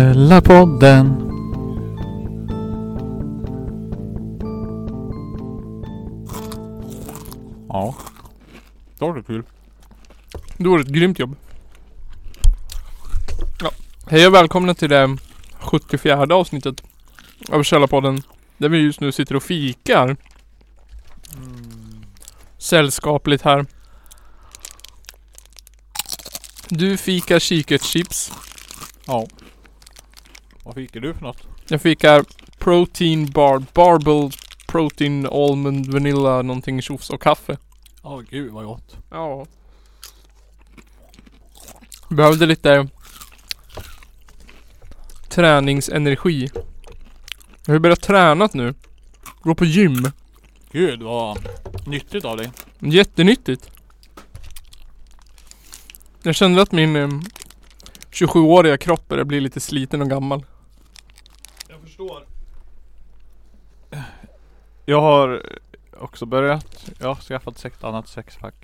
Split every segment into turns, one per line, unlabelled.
Källarpodden.
Ja. Då har du kul.
Det vore ett grymt jobb. Ja. Hej och välkomna till det 74 avsnittet av Källarpodden. Där vi just nu sitter och fikar.
Mm.
Sällskapligt här. Du fikar kikärtschips.
Ja. Vad fick du för något?
Jag fikar protein bar, barbel, protein, almond, vanilla, någonting tjofs och kaffe.
Ja, gud vad gott.
Ja. Behövde lite träningsenergi. Jag har ju börjat träna nu. Gå på gym.
Gud vad nyttigt av dig.
Jättenyttigt. Jag kände att min eh, 27-åriga kropp börjar bli lite sliten och gammal.
Jag förstår. Jag har också börjat. Jag har skaffat ett annat sexpack.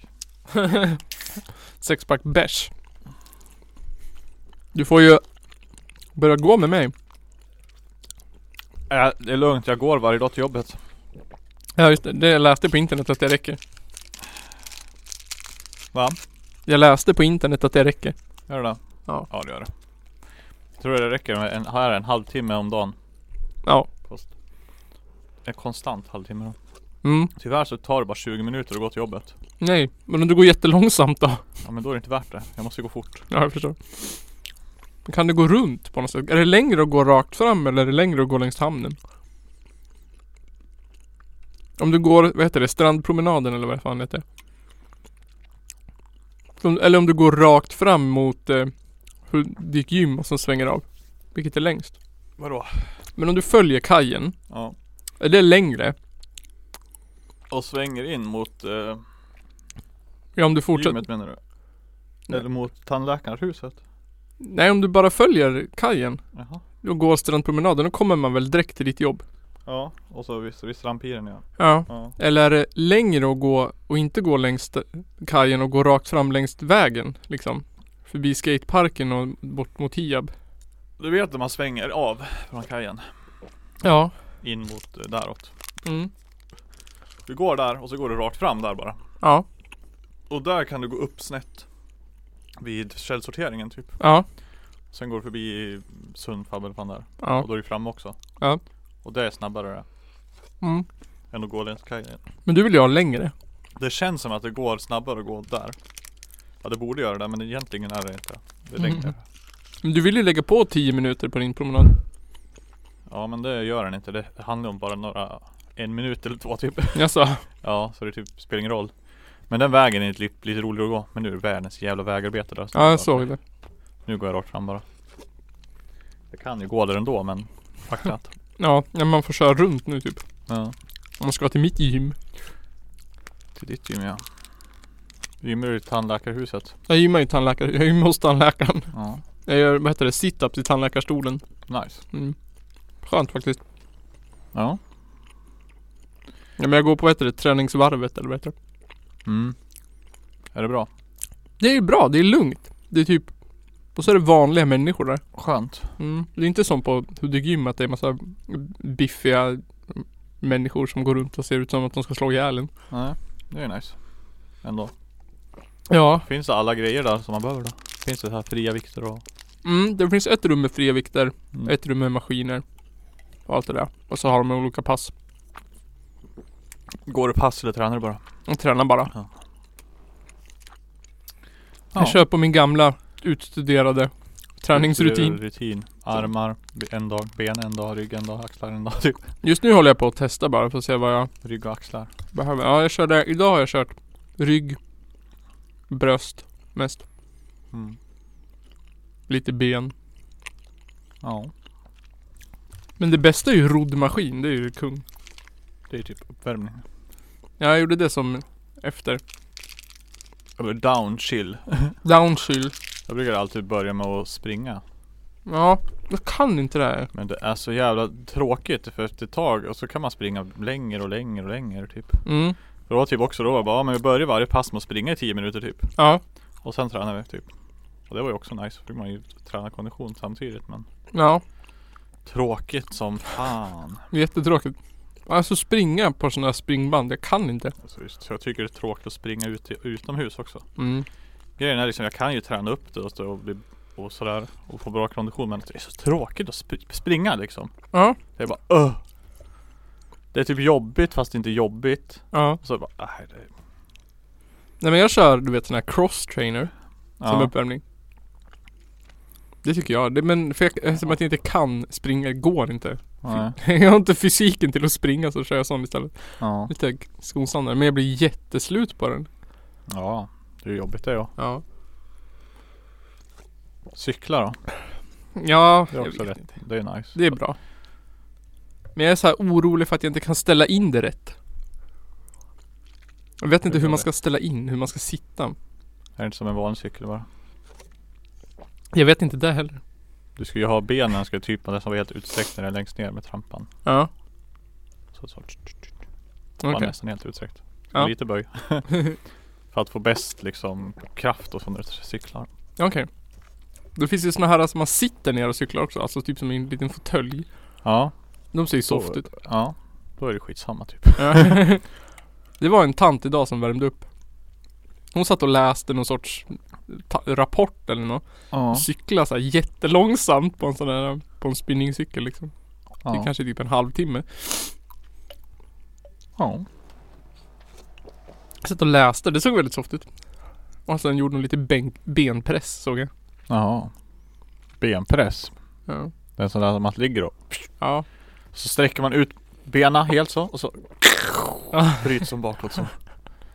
Sexpack bärs. Du får ju börja gå med mig.
Äh, det är lugnt, jag går varje dag till jobbet.
Ja just det, det läste jag på internet att det räcker.
Va?
Jag läste på internet att det räcker.
Gör det
Ja.
Ja det gör det. Jag tror det räcker med en, här en halvtimme om dagen.
Ja.
Kost. En konstant halvtimme då.
Mm.
Tyvärr så tar det bara 20 minuter att gå till jobbet.
Nej, men om du går jättelångsamt då?
Ja men då är det inte värt det. Jag måste gå fort.
Ja, jag förstår. Men Kan du gå runt på något sätt? Är det längre att gå rakt fram eller är det längre att gå längs hamnen? Om du går, vad heter det, strandpromenaden eller vad fan heter det? Om- Eller om du går rakt fram mot eh, hur- ditt gym och sen svänger av. Vilket är längst?
Vadå?
Men om du följer kajen,
Ja.
är det längre?
Och svänger in mot eh,
Ja, om du fortsätter.
gymmet menar du?
Nej.
Eller mot tandläkarhuset?
Nej, om du bara följer kajen
Jaha.
och går strandpromenaden, då kommer man väl direkt till ditt jobb?
Ja. Och så vid, vid strandpiren ja.
Ja.
ja.
Eller är det längre att gå och inte gå längs t- kajen och gå rakt fram längs vägen liksom? Förbi skateparken och bort mot Hiab.
Du vet när man svänger av från kajen.
Ja.
In mot eh, däråt.
Mm.
Du går där och så går du rakt fram där bara.
Ja.
Och där kan du gå upp snett. Vid källsorteringen typ.
Ja.
Sen går du förbi Sundfab eller fan där. Och
Ja.
då är du framme också.
Ja.
Och det är snabbare det.
Mm.
Än att gå längs kajen.
Men du vill ju ha längre.
Det känns som att det går snabbare att gå där. Ja det borde göra det men egentligen är det inte. Det är
Mhm.
längre.
Men du vill ju lägga på 10 minuter på din promenad.
Ja men det gör den inte. Det handlar om bara några en minut eller två typ.
Jaså?
Ja så det typ spelar ingen roll. Men den vägen är lite, lite roligare att gå. Men nu är det världens jävla vägarbete där.
Ja, jag såg det.
Nu går jag rakt fram bara. Jag kan ju gå där ändå men fuck that.
Ja, ja, man får köra runt nu typ.
Ja.
Om man ska till mitt gym.
Till ditt gym ja. Gymmar du i tandläkarhuset?
Jag gymmar ju tandläkare. Jag gymmar hos tandläkaren.
Ja.
Jag gör, vad heter det, situps i tandläkarstolen.
Nice.
Mm. Skönt faktiskt.
Ja.
Ja, men jag går på, vad heter det, träningsvarvet eller vad heter det?
Mm. Är det bra?
Det är ju bra, det är lugnt. Det är typ och så är det vanliga människor där. Mm.
Skönt.
Det är inte som på Hudik Gym att det är massa biffiga människor som går runt och ser ut som att de ska slå ihjäl en.
Nej, det är nice. Ändå.
Ja.
Finns det alla grejer där som man behöver då? Finns det så här fria vikter och..
Mm, det finns ett rum med fria vikter,
Mm.
ett rum med maskiner och allt det där. Och så har de olika pass.
Går du pass eller tränar du bara?
De tränar bara.
Ja.
Jag kör på min gamla utstuderade träningsrutin.
Rutin. Armar, be- en dag, ben en dag, rygg en dag, axlar en dag typ.
Just nu håller jag på att testa bara för att se vad jag
Rygg och axlar.
Behöver, ja jag körde, idag har jag kört rygg, bröst mest,
Mm.
lite ben.
Ja.
Men det bästa är ju roddmaskin, det är ju kung.
Det är typ uppvärmning.
Ja, jag gjorde det som efter.
Eller down chill.
Downchill.
Jag brukar alltid börja med att springa.
Ja, jag kan inte det här.
Men det är så jävla tråkigt för efter ett tag och så kan man springa längre och längre och längre typ.
Mm.
För det var typ också då, jag bara, ja, men vi börjar varje pass med att springa i 10 minuter typ.
Ja.
Och sen tränar vi typ. Och det var ju också nice, för då fick man ju träna kondition samtidigt men
Ja.
Tråkigt som fan.
Det är jättetråkigt. Alltså springa på sådana här springband. Jag kan inte.
Alltså, just, så jag tycker det är tråkigt att springa ut, utomhus också.
Mm.
Grejen är liksom, jag kan ju träna upp det och, stå och, bli, och sådär och få bra kondition men det är så tråkigt att sp- springa liksom.
Ja.
Det är bara öh. Det är typ jobbigt fast inte jobbigt.
Ja.
Och så bara, nej det är...
Nej men jag kör du vet sån här cross trainer som
Ja.
uppvärmning. Det tycker jag. Det, men för jag, eftersom att jag inte kan springa, går inte.
Nej.
Jag har inte fysiken till att springa så kör jag sån istället.
Ja.
Lite skonsammare. Men jag blir jätteslut på den.
ja. Det är jobbigt det ja.
Ja.
Cykla då.
Ja,
Det är också
jag vet
rätt.
inte.
Det är nice.
Det är bra. Men jag är så här orolig för att jag inte kan ställa in det rätt. Jag vet inte
Hur
hur
gör
man
det?
ska ställa in, hur man ska sitta.
Det är inte som en vanlig cykel bara.
Jag vet inte det heller.
Du ska ju ha benen ska ju typ vara nästan vara helt utsträckt när det är längst ner med trampan.
Ja,
Så, så.
okej.
Var nästan helt utsträckt.
Ja.
Lite böj. För att få bäst liksom kraft och så när du cyklar.
Okej. Då finns det ju såna här som man sitter ner och cyklar också. Alltså typ som i en liten fåtölj.
Ja,
De ser ju
Så-
soft ut.
ja. Då är det skitsamma typ.
Ja. det var en tant idag som värmde upp. Hon satt och läste någon sorts ta- rapport eller något.
Ja.
Cyklade så här jättelångsamt på en sån här, på en spinningcykel liksom. Det är
Ja.
kanske typ en halvtimme.
ja.
Jag satt och läste, det såg väldigt soft ut. Och sen gjorde hon lite bänk, benpress såg jag.
Jaha. Benpress.
Ja.
Det är en sån där som man ligger och
Ja.
så sträcker man ut bena helt så och så
Ah.
bryts de bakåt så.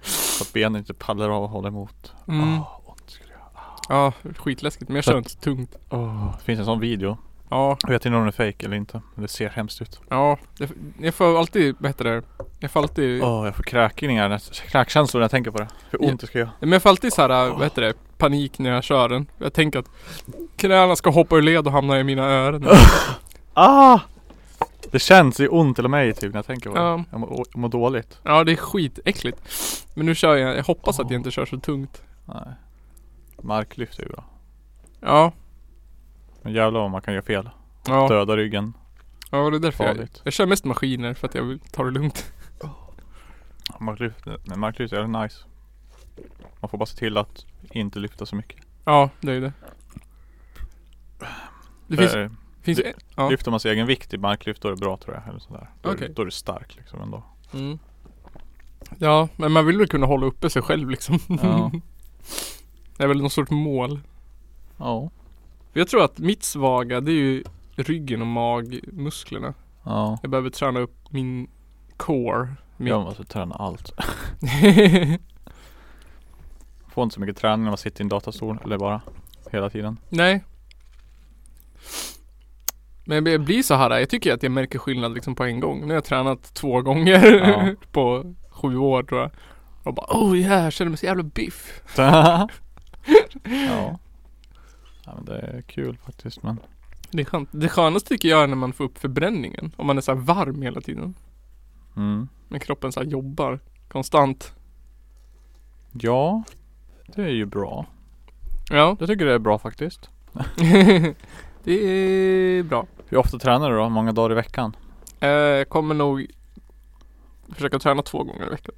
Så att benen inte pallar av och håller emot.
Mm.
Åh, ont skulle jag-
ja, skitläskigt. Men jag kör inte så tungt.
Åh, Det finns en sån video.
Ja,
Jag vet inte om den är fake eller inte. Men det ser hemskt ut.
ja. Jag, jag får alltid, vad heter det? Jag får alltid,
Åh, jag får kräkningar, när- kräkkänslor när jag tänker på det. Hur ont det ska göra.
men jag får alltid så här, äh, vad heter det? Panik när jag kör den. Jag tänker att knäna ska hoppa ur led och hamna i mina öron.
Ah! Det känns ju ont eller mig typ när jag tänker på det.
Ja.
Jag mår, jag mår dåligt.
Ja, det är skitäckligt. Men nu kör jag, jag hoppas att jag inte kör så tungt.
Nej. Marklyft är ju bra.
Ja,
Men jävlar vad man kan göra fel.
ja.
Döda ryggen.
Ja, det är därför jag,
Farligt.
jag kör mest maskiner för att jag vill ta det lugnt.
Marklyft, nej, marklyft är jävligt nice. Man får bara se till att inte lyfta så mycket.
Ja, det är det. Det finns,
För
finns
Eh, det-
det, ja.
Lyfter man sin egen vikt i marklyft då är det bra tror jag. Eller sådär. Då, är,
Okej.
du- då är du stark liksom ändå.
Mm. Ja, men man vill väl kunna hålla uppe sig själv liksom.
Ja.
Det är väl någon sorts mål.
Ja.
För Jag tror att mitt svaga det är ju ryggen och magmusklerna.
Ja.
Jag behöver träna upp min core. Min...
Jag måste träna allt. Får inte så mycket träning när man sitter i en datastol. Eller bara. Hela tiden.
Nej. Men jag blir så här, jag tycker att jag märker skillnad liksom på en gång. Nu har jag tränat två gånger
Ja.
på sju år tror jag. Och bara oh yeah, jag känner mig så jävla biff.
ja. ja. men det är kul faktiskt men.
Det, är skönt. det skönaste tycker jag är när man får upp förbränningen. Om man är så här varm hela tiden.
Mm.
När kroppen så här jobbar konstant.
Ja. Det är ju bra.
Ja,
Jag tycker det är bra faktiskt.
det är bra.
Hur ofta tränar du då? Många dagar i veckan?
Eh, Jag kommer nog försöka träna två gånger i veckan.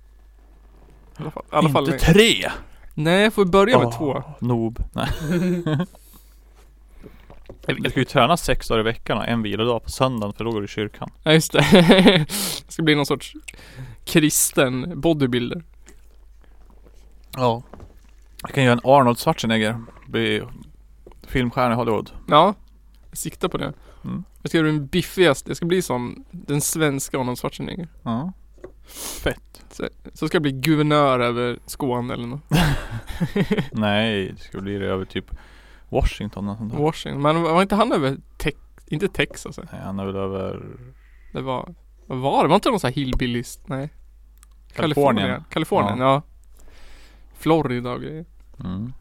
I alla fall. I alla fall
Inte tre!
nej, jag får börja med
Åh,
två.
Nob. Nej. Jag ska ju träna sex dagar i veckan och en vilodag på söndagen för då går du i kyrkan.
Ja, just det. Jag ska bli någon sorts kristen bodybuilder.
Ja. Jag kan göra en Arnold Schwarzenegger. Bli filmstjärna i Hollywood.
Ja, jag siktar på det.
Mm.
Jag ska bli den biffigaste. Jag ska bli som den svenska Arnold Schwarzenegger.
Ja. Fett.
Så ska jag bli guvernör över Skåne eller något.
Nej, det ska bli det över typ Washington eller sånt där.
Washington. Men var inte han över Tex... Inte Texas? eh?
Nej, han är väl över
Det var... Vad var det? Var inte någon sån här hillbillies? Nej.
Kalifornien.
Kalifornien, ja. Florida och grejer.
Mm.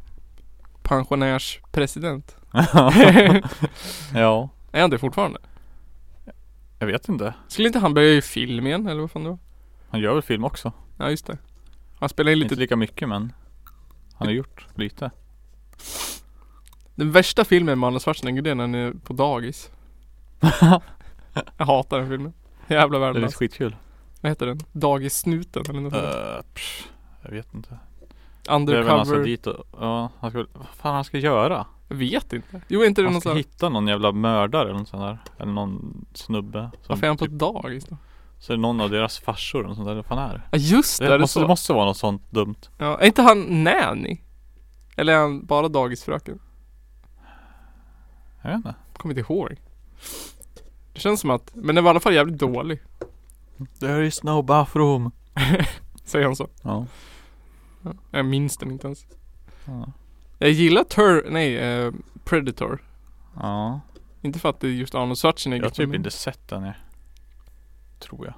Pensionärspresident.
ja.
Är han det fortfarande?
Jag vet inte.
Skulle inte han börja i film igen eller vad fan det var?
Han gör väl film också?
Ja just det. Han spelar in lite
Inte lika mycket men han har gjort lite.
Den värsta filmen med Arnold Schwarzenegger det är när han är på dagis. Jag hatar den filmen. Jävla
Det är lite
värdelös.
skitkul.
Vad heter den? Dagissnuten eller något sånt.
Uh, pff, jag vet inte. Det är väl han ska
Undercover.
dit och, ja, han ska, vad fan han ska göra?
Jag vet inte. Jo är inte det
Han
någon
ska
sån här.
hitta någon jävla mördare eller något sånt där. Eller någon snubbe. Som
Varför är han på
typ,
ett dagis då?
så är det någon av deras farsor eller något sånt där. Vad fan är det?
Ja just det,
Det,
är det
måste, det
så?
måste vara något sånt dumt.
Ja, är inte han nanny? Eller är han bara dagisfröken?
Jag vet inte.
Kommer inte ihåg. Det känns som att, men den var i alla fall jävligt dålig.
There is no bathroom.
Säger han så.
Ja.
Ja, jag minns den inte ens.
Ja.
Jag gillar Tur, nej, eh, Predator.
ja.
Inte för att det är just Arnold Schwarzenegger
Jag har typ
men-
inte sett den. Jag. Tror jag.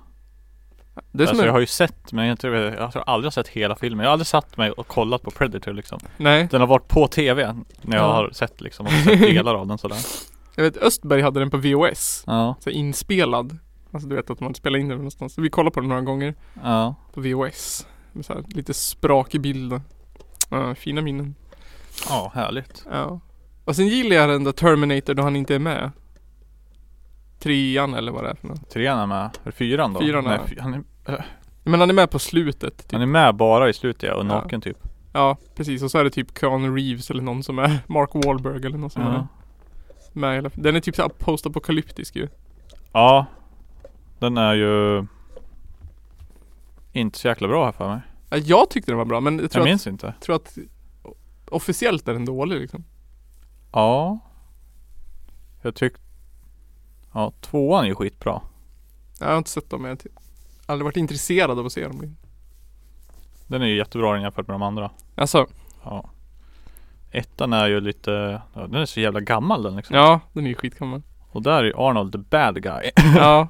Det är som
alltså,
en-
jag har ju sett men jag, inte, jag tror aldrig jag har sett hela filmen. Jag har aldrig satt mig och kollat på Predator liksom.
Nej,
Den har varit på tv när jag
Ja.
har sett liksom. Och sett delar av den sådär.
jag vet Östberg hade den på VHS.
Ja.
Så här inspelad. Alltså du vet att man spelar in den någonstans. Vi kollade på den några gånger
Ja.
på VHS. Med så här, lite sprakig bild. Ja, fina minnen.
Ja, härligt.
Ja. Och sen gillar jag den där Terminator då han inte är med. Trean eller vad det är för något.
Trean är med. Är det Fyran då?
Fyran är
Nej,
med.
fy- han, är,
Men han är med på slutet. Typ.
han är med bara i slutet ja, och
Ja.
naken typ.
Ja, precis. Och så är det typ Keanu Reeves eller någon som är Mark Wahlberg eller någon som är
Ja.
med. i alla fall. Den är typ såhär postapokalyptisk ju.
ja. Den är ju inte så jäkla bra här för mig.
Ja, jag tyckte den var bra men jag
Jag
tror, att,
minns inte.
tror att officiellt är den dålig liksom.
Ja. Jag tyckte... Ja, tvåan är ju skitbra.
Jag har inte sett dem, men jag har typ aldrig varit intresserad av att se dem.
Den är ju jättebra den jämfört med de andra.
Alltså,
Ja. Ettan är ju lite... Ja, den är så jävla gammal den liksom.
ja, den är ju skitgammal.
Och där är ju Arnold the bad guy.
ja.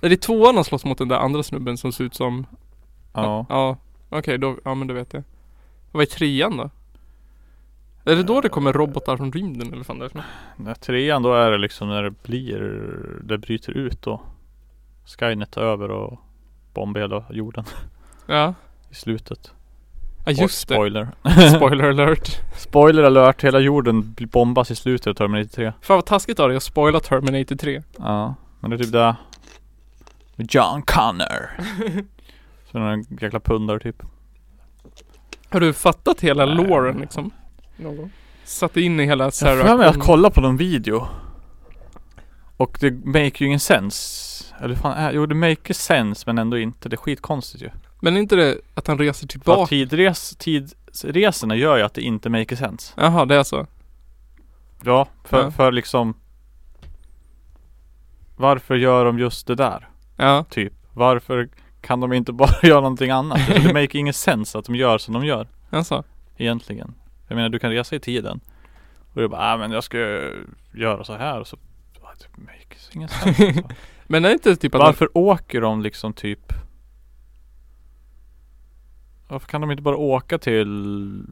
Är det tvåan han slåss mot den där andra snubben som ser ut som...
Ja.
Ja. Okej, då, ja men då vet jag. Vad är trean då? Är det då det kommer robotar från rymden eller vad fan det är för något?
ja. Trean då är det liksom när det blir... Det bryter ut då. Skynet tar över och bombar hela jorden
Ja.
i slutet.
Ja just det.
Spoiler.
Spoiler alert.
Spoiler alert. Hela jorden bl- bombas i slutet av Terminator 3.
Fan vad taskigt av dig att spoila Terminator 3.
Ja, men det är typ det. Med John Connor. Så någon jäkla pundar typ.
Har du fattat hela
Nej.
loren liksom? Någon. Satt in i hela Sarah
jag har för mig att
Connor-
kolla på någon video. Och det make ju ingen sense. Eller fan är Jo det make sense men ändå inte. Det är skitkonstigt ju.
Men är inte det att han reser
För att
tillbaka?
tidres, tidsresorna gör ju att det inte make sense.
Jaha, det är så.
Ja, för,
Ja.
för liksom. Varför gör de just det där?
Ja.
Typ. Varför kan de inte bara göra någonting annat? Det make ingen sense att de gör som de gör.
Alltså.
egentligen. Jag menar du kan resa i tiden. Och du bara, ah, men jag ska göra så här och så ah, det makes ingen sense. alltså.
Men är inte typ att
Varför åker de liksom typ Varför kan de inte bara åka till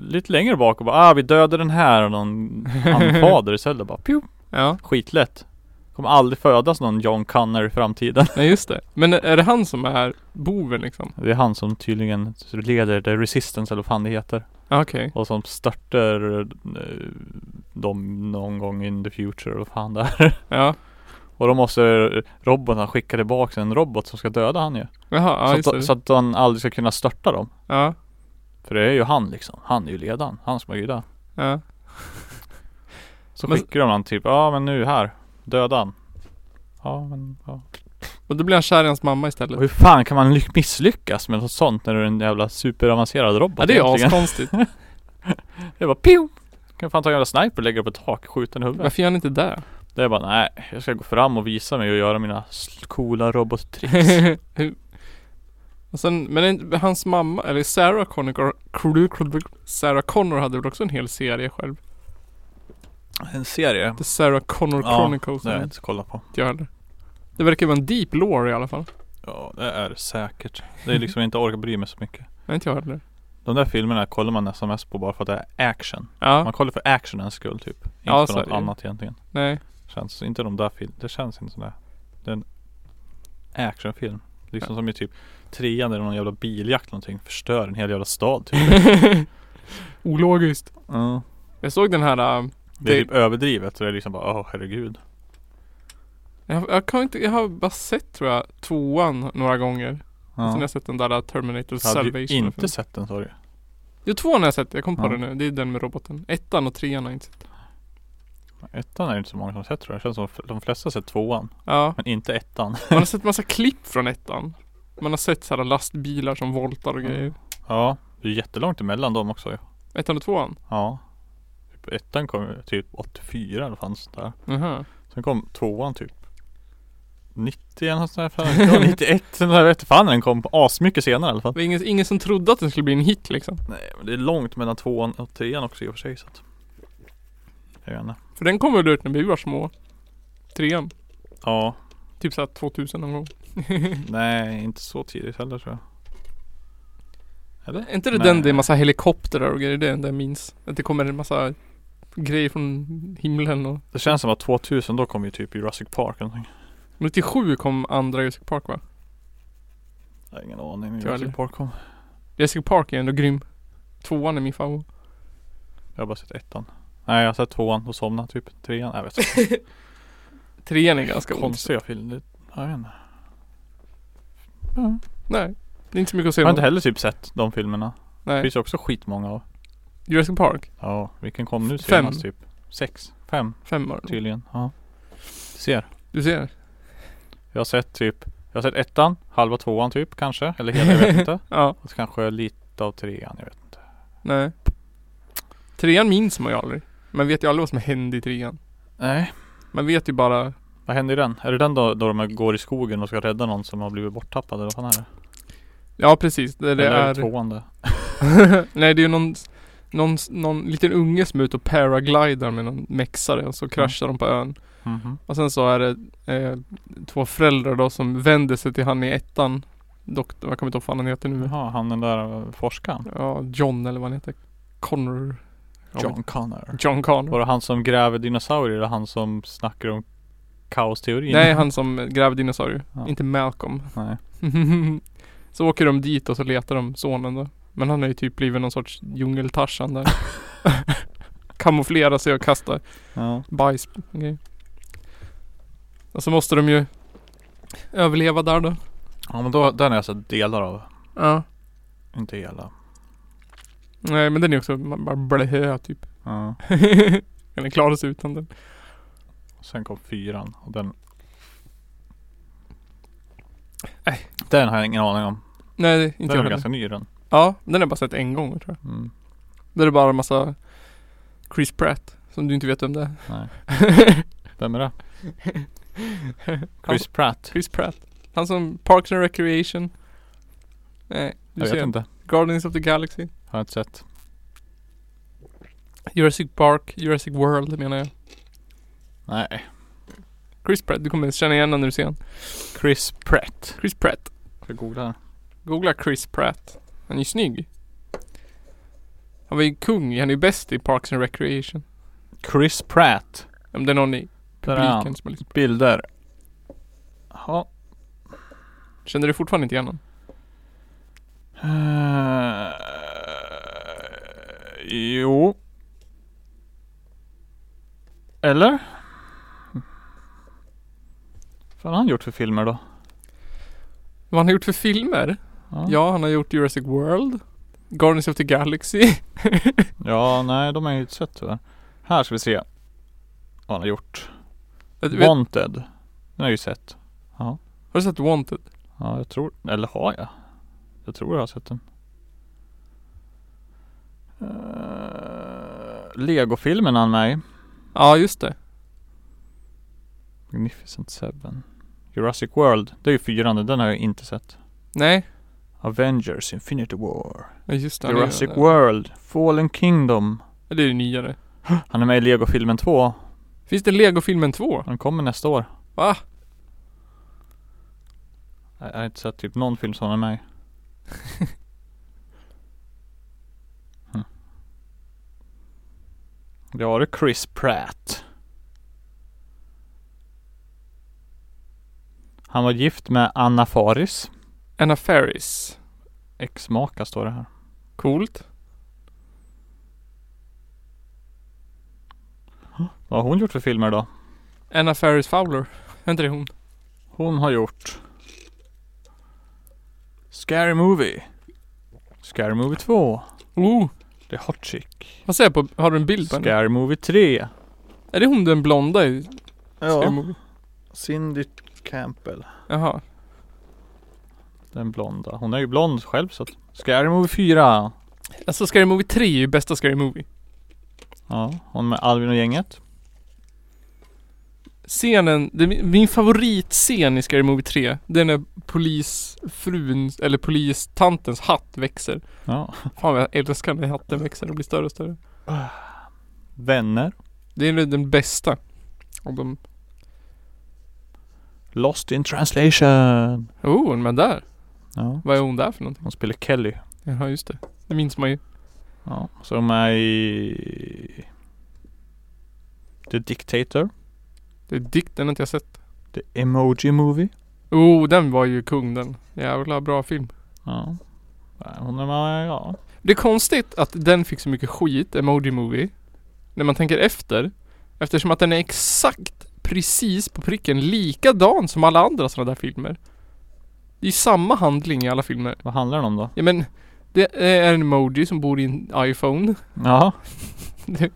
lite längre bak och bara ah vi dödar den här och någon anfader istället bara pju,
Ja,
skitlätt. Kommer aldrig födas någon John Connor i framtiden.
nej just det. Men är det han som är boven liksom?
Det är han som tydligen leder The Resistance eller vad fan det heter.
Ja, Okej.
Och som störtar eh, dem någon gång in the future eller vad fan det är.
Ja.
Och då måste robotarna skicka tillbaka en robot som ska döda han ju.
Jaha, ja
så,
just
att,
det.
så att han aldrig ska kunna störta dem.
Ja.
För det är ju han liksom. Han är ju ledaren. Han som är gudan.
Ja.
Så
Men-
skickar de han typ, ja men nu här. Döda han. Ja men ja.
Och då blir han kär i hans mamma
Och
istället.
hur fan kan man ly- misslyckas med något sånt när du är en jävla superavancerad robot
Ja det är
egentligen?
askonstigt.
Det är bara pio! Kan fan ta en jävla sniper och lägga på ett tak och skjuta den i huvudet.
Varför gör han inte det?
Det är bara nej, jag ska gå fram och visa mig och göra mina sl- coola robottricks.
Hur- Och sen, men en- hans mamma, eller Sarah Connor, Sarah Connor hade väl också en hel serie själv?
en serie?
The Sarah Connor
Ja,
Chronicles.
Det
eller
har jag
något,
inte kollat på.
jag hörde. Det verkar vara en deep lore i alla fall.
Ja, det är säkert. Det är liksom jag inte orkar bry mig så mycket.
Nej, inte jag heller.
De där filmerna kollar man nästan mest på bara för att det är action.
Ja,
Man kollar för actionens skull typ. Inte
Ja,
för
så är
något
det ju.
annat egentligen.
nej.
Känns inte de där filmerna. Det känns inte sådär. Det är en actionfilm. Liksom som i typ trean där någon jävla biljakt eller någonting förstör en hel jävla stad typ.
Ologiskt.
Ja.
Jag såg den här äh,
Det är
Det-
typ överdrivet så det är liksom bara åh herregud.
jag, jag kan inte, jag har bara sett tror jag tvåan några gånger.
Ja.
Sen har jag sett den där äh, Terminator
Jag hade ju
Salvation.
inte sett den sa du
Jo tvåan har jag sett, jag kom på
Ja.
det nu. Det är den med roboten. Ettan och trean har jag inte sett.
Ettan är det inte så många som har sett tror jag. Det känns som att de flesta har sett tvåan.
Ja,
Men inte ettan.
man har sett massa klipp från ettan. Man har sett sådana lastbilar som voltar och
Mm.
grejer.
Ja. Det är jättelångt emellan dem också ju.
Ettan och tvåan?
Ja. Typ ettan kom ju typ 84 eller fanns där.
Jaha.
Sen kom tvåan typ 90 eller något sånt där. fan. Ja, 91 eller jag vet fan när den kom. Asmycket senare i alla fall.
Det var ingen, ingen som trodde att den skulle bli en hit liksom.
Nej men det är långt mellan tvåan och trean också i och för sig så att Jag vet inte
För den kom väl ut när vi var små. Trean.
Ja,
Typ såhär 2000 någon gång.
nej inte så tidigt heller tror jag Eller?
Är inte det
Nej.
den det är massa helikoptrar och grejer? Det är den där jag minns. Att det kommer en massa grejer från himlen och...
Det känns som att 2000 då kom ju typ Jurassic Park eller någonting
97 kom andra Jurassic Park va?
Jag har ingen aning när
Tror jag
Jurassic
aldrig.
Park kom
Jurassic Park är ändå grym. Tvåan är min favorit.
Jag har bara sett ettan Nej jag har sett tvåan och somnat typ Trean, jag vet inte
Trean är ganska ond.
Konstiga filmer, jag vet inte
Nej. Det är inte så mycket att
Jag
säga
har inte
om.
heller typ sett de filmerna Det
Nej.
finns ju också skitmånga av
Jurassic Park.
Ja, vilken kom nu
Fem.
senast typ? Sex? Fem
Fem var det.
tydligen, ja Ser
Du ser.
Jag har sett typ Jag har sett ettan, halva tvåan typ kanske Eller hela, jag vet inte
Ja.
Och så kanske lite av trean, jag vet inte
Nej. Trean minns man ju aldrig. Man vet ju aldrig vad som hände i trean.
Nej
Man vet ju bara
Vad händer i den? Är det den då, då de går i skogen och ska rädda någon som har blivit borttappad eller vad fan är det?
Ja precis, det, det
eller
är...
tvåan det?
Nej det är ju någon, någon, någon liten unge som är ute och paraglidar med någon mexare och
Mm.
så kraschar de på ön.
Mhm.
Och sen så är det eh, två föräldrar då som vänder sig till han i ettan. Doktor, jag kommer inte ihåg vad fan han heter nu.
Jaha, han den där eh, forskaren?
Ja, John eller vad han heter. Connor. Jag vet-
John Connor
John Connor.
Var det han som gräver dinosaurier eller han som snackar om kaosteorin?
Nej, han som grävde dinosaurier.
Ja.
Inte Malcolm.
Nej
så åker de dit och så letar de sonen då. Men han har ju typ blivit någon sorts djungeltarsan där. Kamouflerar sig och kastar
Ja
bajs och grejer. Och så måste de ju överleva där då.
Ja men då, den har jag sett delar av
Ja.
Inte hela
Nej men den är också man bara blöhö typ.
Ja
Eller klarar sig utan den.
Sen kom fyran och den Äh, Den har jag ingen aning om
Nej det är inte
Den
jag
är
heller.
ganska ny den
Ja, den har jag bara sett en gång tror jag.
Mm,
Där är det bara en massa Chris Pratt. Som du inte vet vem det är.
nej. Vem är det? Chris Pratt?
Chris Pratt. Han som Parks and Recreation. Nej, du
Jag vet
ser.
inte.
Guardians of the Galaxy.
Har jag inte sett.
Jurassic Park, Jurassic World menar jag.
Nej.
Chris Pratt, du kommer känna igen honom när du ser honom.
Chris Pratt.
Chris Pratt.
Ska jag googla här?
Googla Chris Pratt. Han är ju snygg. Han var ju kung, han är ju bäst i Parks and Recreation.
Chris Pratt.
Om det är någon i
Där är han.
publiken som har liksom.
Bilder. Ja.
Känner du fortfarande inte igen honom?
Eh, jo. Eller? Vad fan har han gjort för filmer då?
Vad han har gjort för filmer? Ja, han har gjort Jurassic World. Guardians of the Galaxy.
Ja, nej de har jag inte sett tyvärr. Här ska vi se. Vad han har gjort.
Jag vet-
Wanted. Den har jag ju sett.
Har du sett Wanted?
Ja, jag tror, eller har jag? Jag tror jag har sett den. Uh, Lego-filmen han är med i.
Ja, just det.
Magnificent Seven. Jurassic World. Det är ju fyran, den har jag inte sett.
Nej.
Avengers Infinity War.
Ja, just det. han är ju den
Jurassic
där.
World. Fallen Kingdom.
Ja, det är ju nyare.
Han är med i Lego-filmen 2.
Finns det Lego-filmen 2?
Den kommer nästa år.
Va?
Jag jag har inte sett typ någon film som han är med i. Hm. Ja, det är Chris Pratt. Han var gift med Anna Faris.
Anna Faris.
Ex-maka står det här.
Coolt.
Vad har hon gjort för filmer då?
Anna Faris Fowler. Är inte det hon?
Hon har gjort Scary Movie Scary Movie 2
Oh,
The Hot Chick
vad säger jag på? Har du en bild på henne?
Scary Movie 3
Är det hon den blonda i Scary Movie?
Cindy Campbell
Jaha.
Den blonda, hon är ju blond själv så att Scary Movie 4
Alltså Scary Movie 3 är ju bästa Scary Movie.
Ja, hon med Alvin och gänget
Scenen, det, är min- min favoritscen i Scary Movie 3, det är när polisfrun, eller polistantens hatt växer.
Ja
Fan vad jag älskar när hatten växer och blir större och större.
Vänner
Det är nog den bästa. Och de,
Lost in translation
oh, men där.
Ja,
Vad är hon där för någonting?
hon spelar Kelly
Jaha, just det. Det minns man ju.
Ja, som är i The Dictator
Det är dikten inte jag sett.
The Emoji Movie
Oh, den var ju kung den. Jävla bra film.
Ja Nej, Hon är med, ja
Det är konstigt att den fick så mycket skit, Emoji Movie. När man tänker efter. Eftersom att den är exakt precis på pricken likadan som alla andra sådana där filmer. Det är ju samma handling i alla filmer.
Vad handlar den om då?
Ja men, det är en emoji som bor i en iPhone.
Ja
Det är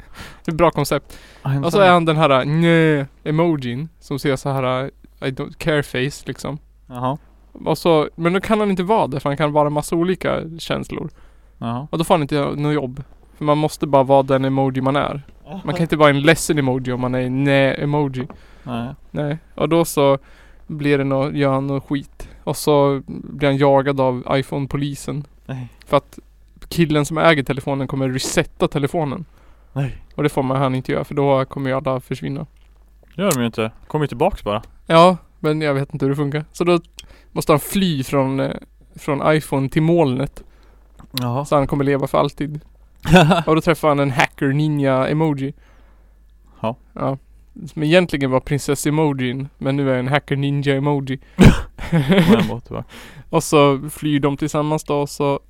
ett bra koncept.
Mm.
Och så är han den här nö emojin som ser så här I don't care face liksom.
Jaha
Och så, men då kan han inte vara det för han kan vara en massa olika känslor.
Jaha
Och då får han inte göra något jobb. För man måste bara vara den emoji man är. Man kan inte vara en ledsen emoji om man är en nej-emoji.
Nej
Nej. Och då så blir det nå gör han något skit. Och så blir han jagad av iPhone-polisen.
Nej
För att killen som äger telefonen kommer resetta telefonen.
Nej
Och det får man han inte göra för då kommer ju alla försvinna.
Gör de ju inte Kommer ju tillbaks bara
Ja, men jag vet inte hur det funkar. Så då måste han fly från, eh, från iPhone till molnet.
Jaha
Så han kommer leva för alltid. Och då träffade han en hacker ninja emoji.
Ja.
Ja. Som egentligen var prinsess emojin men nu är en hacker ninja emoji.
Den var tillbaka
och så flyr de tillsammans då och så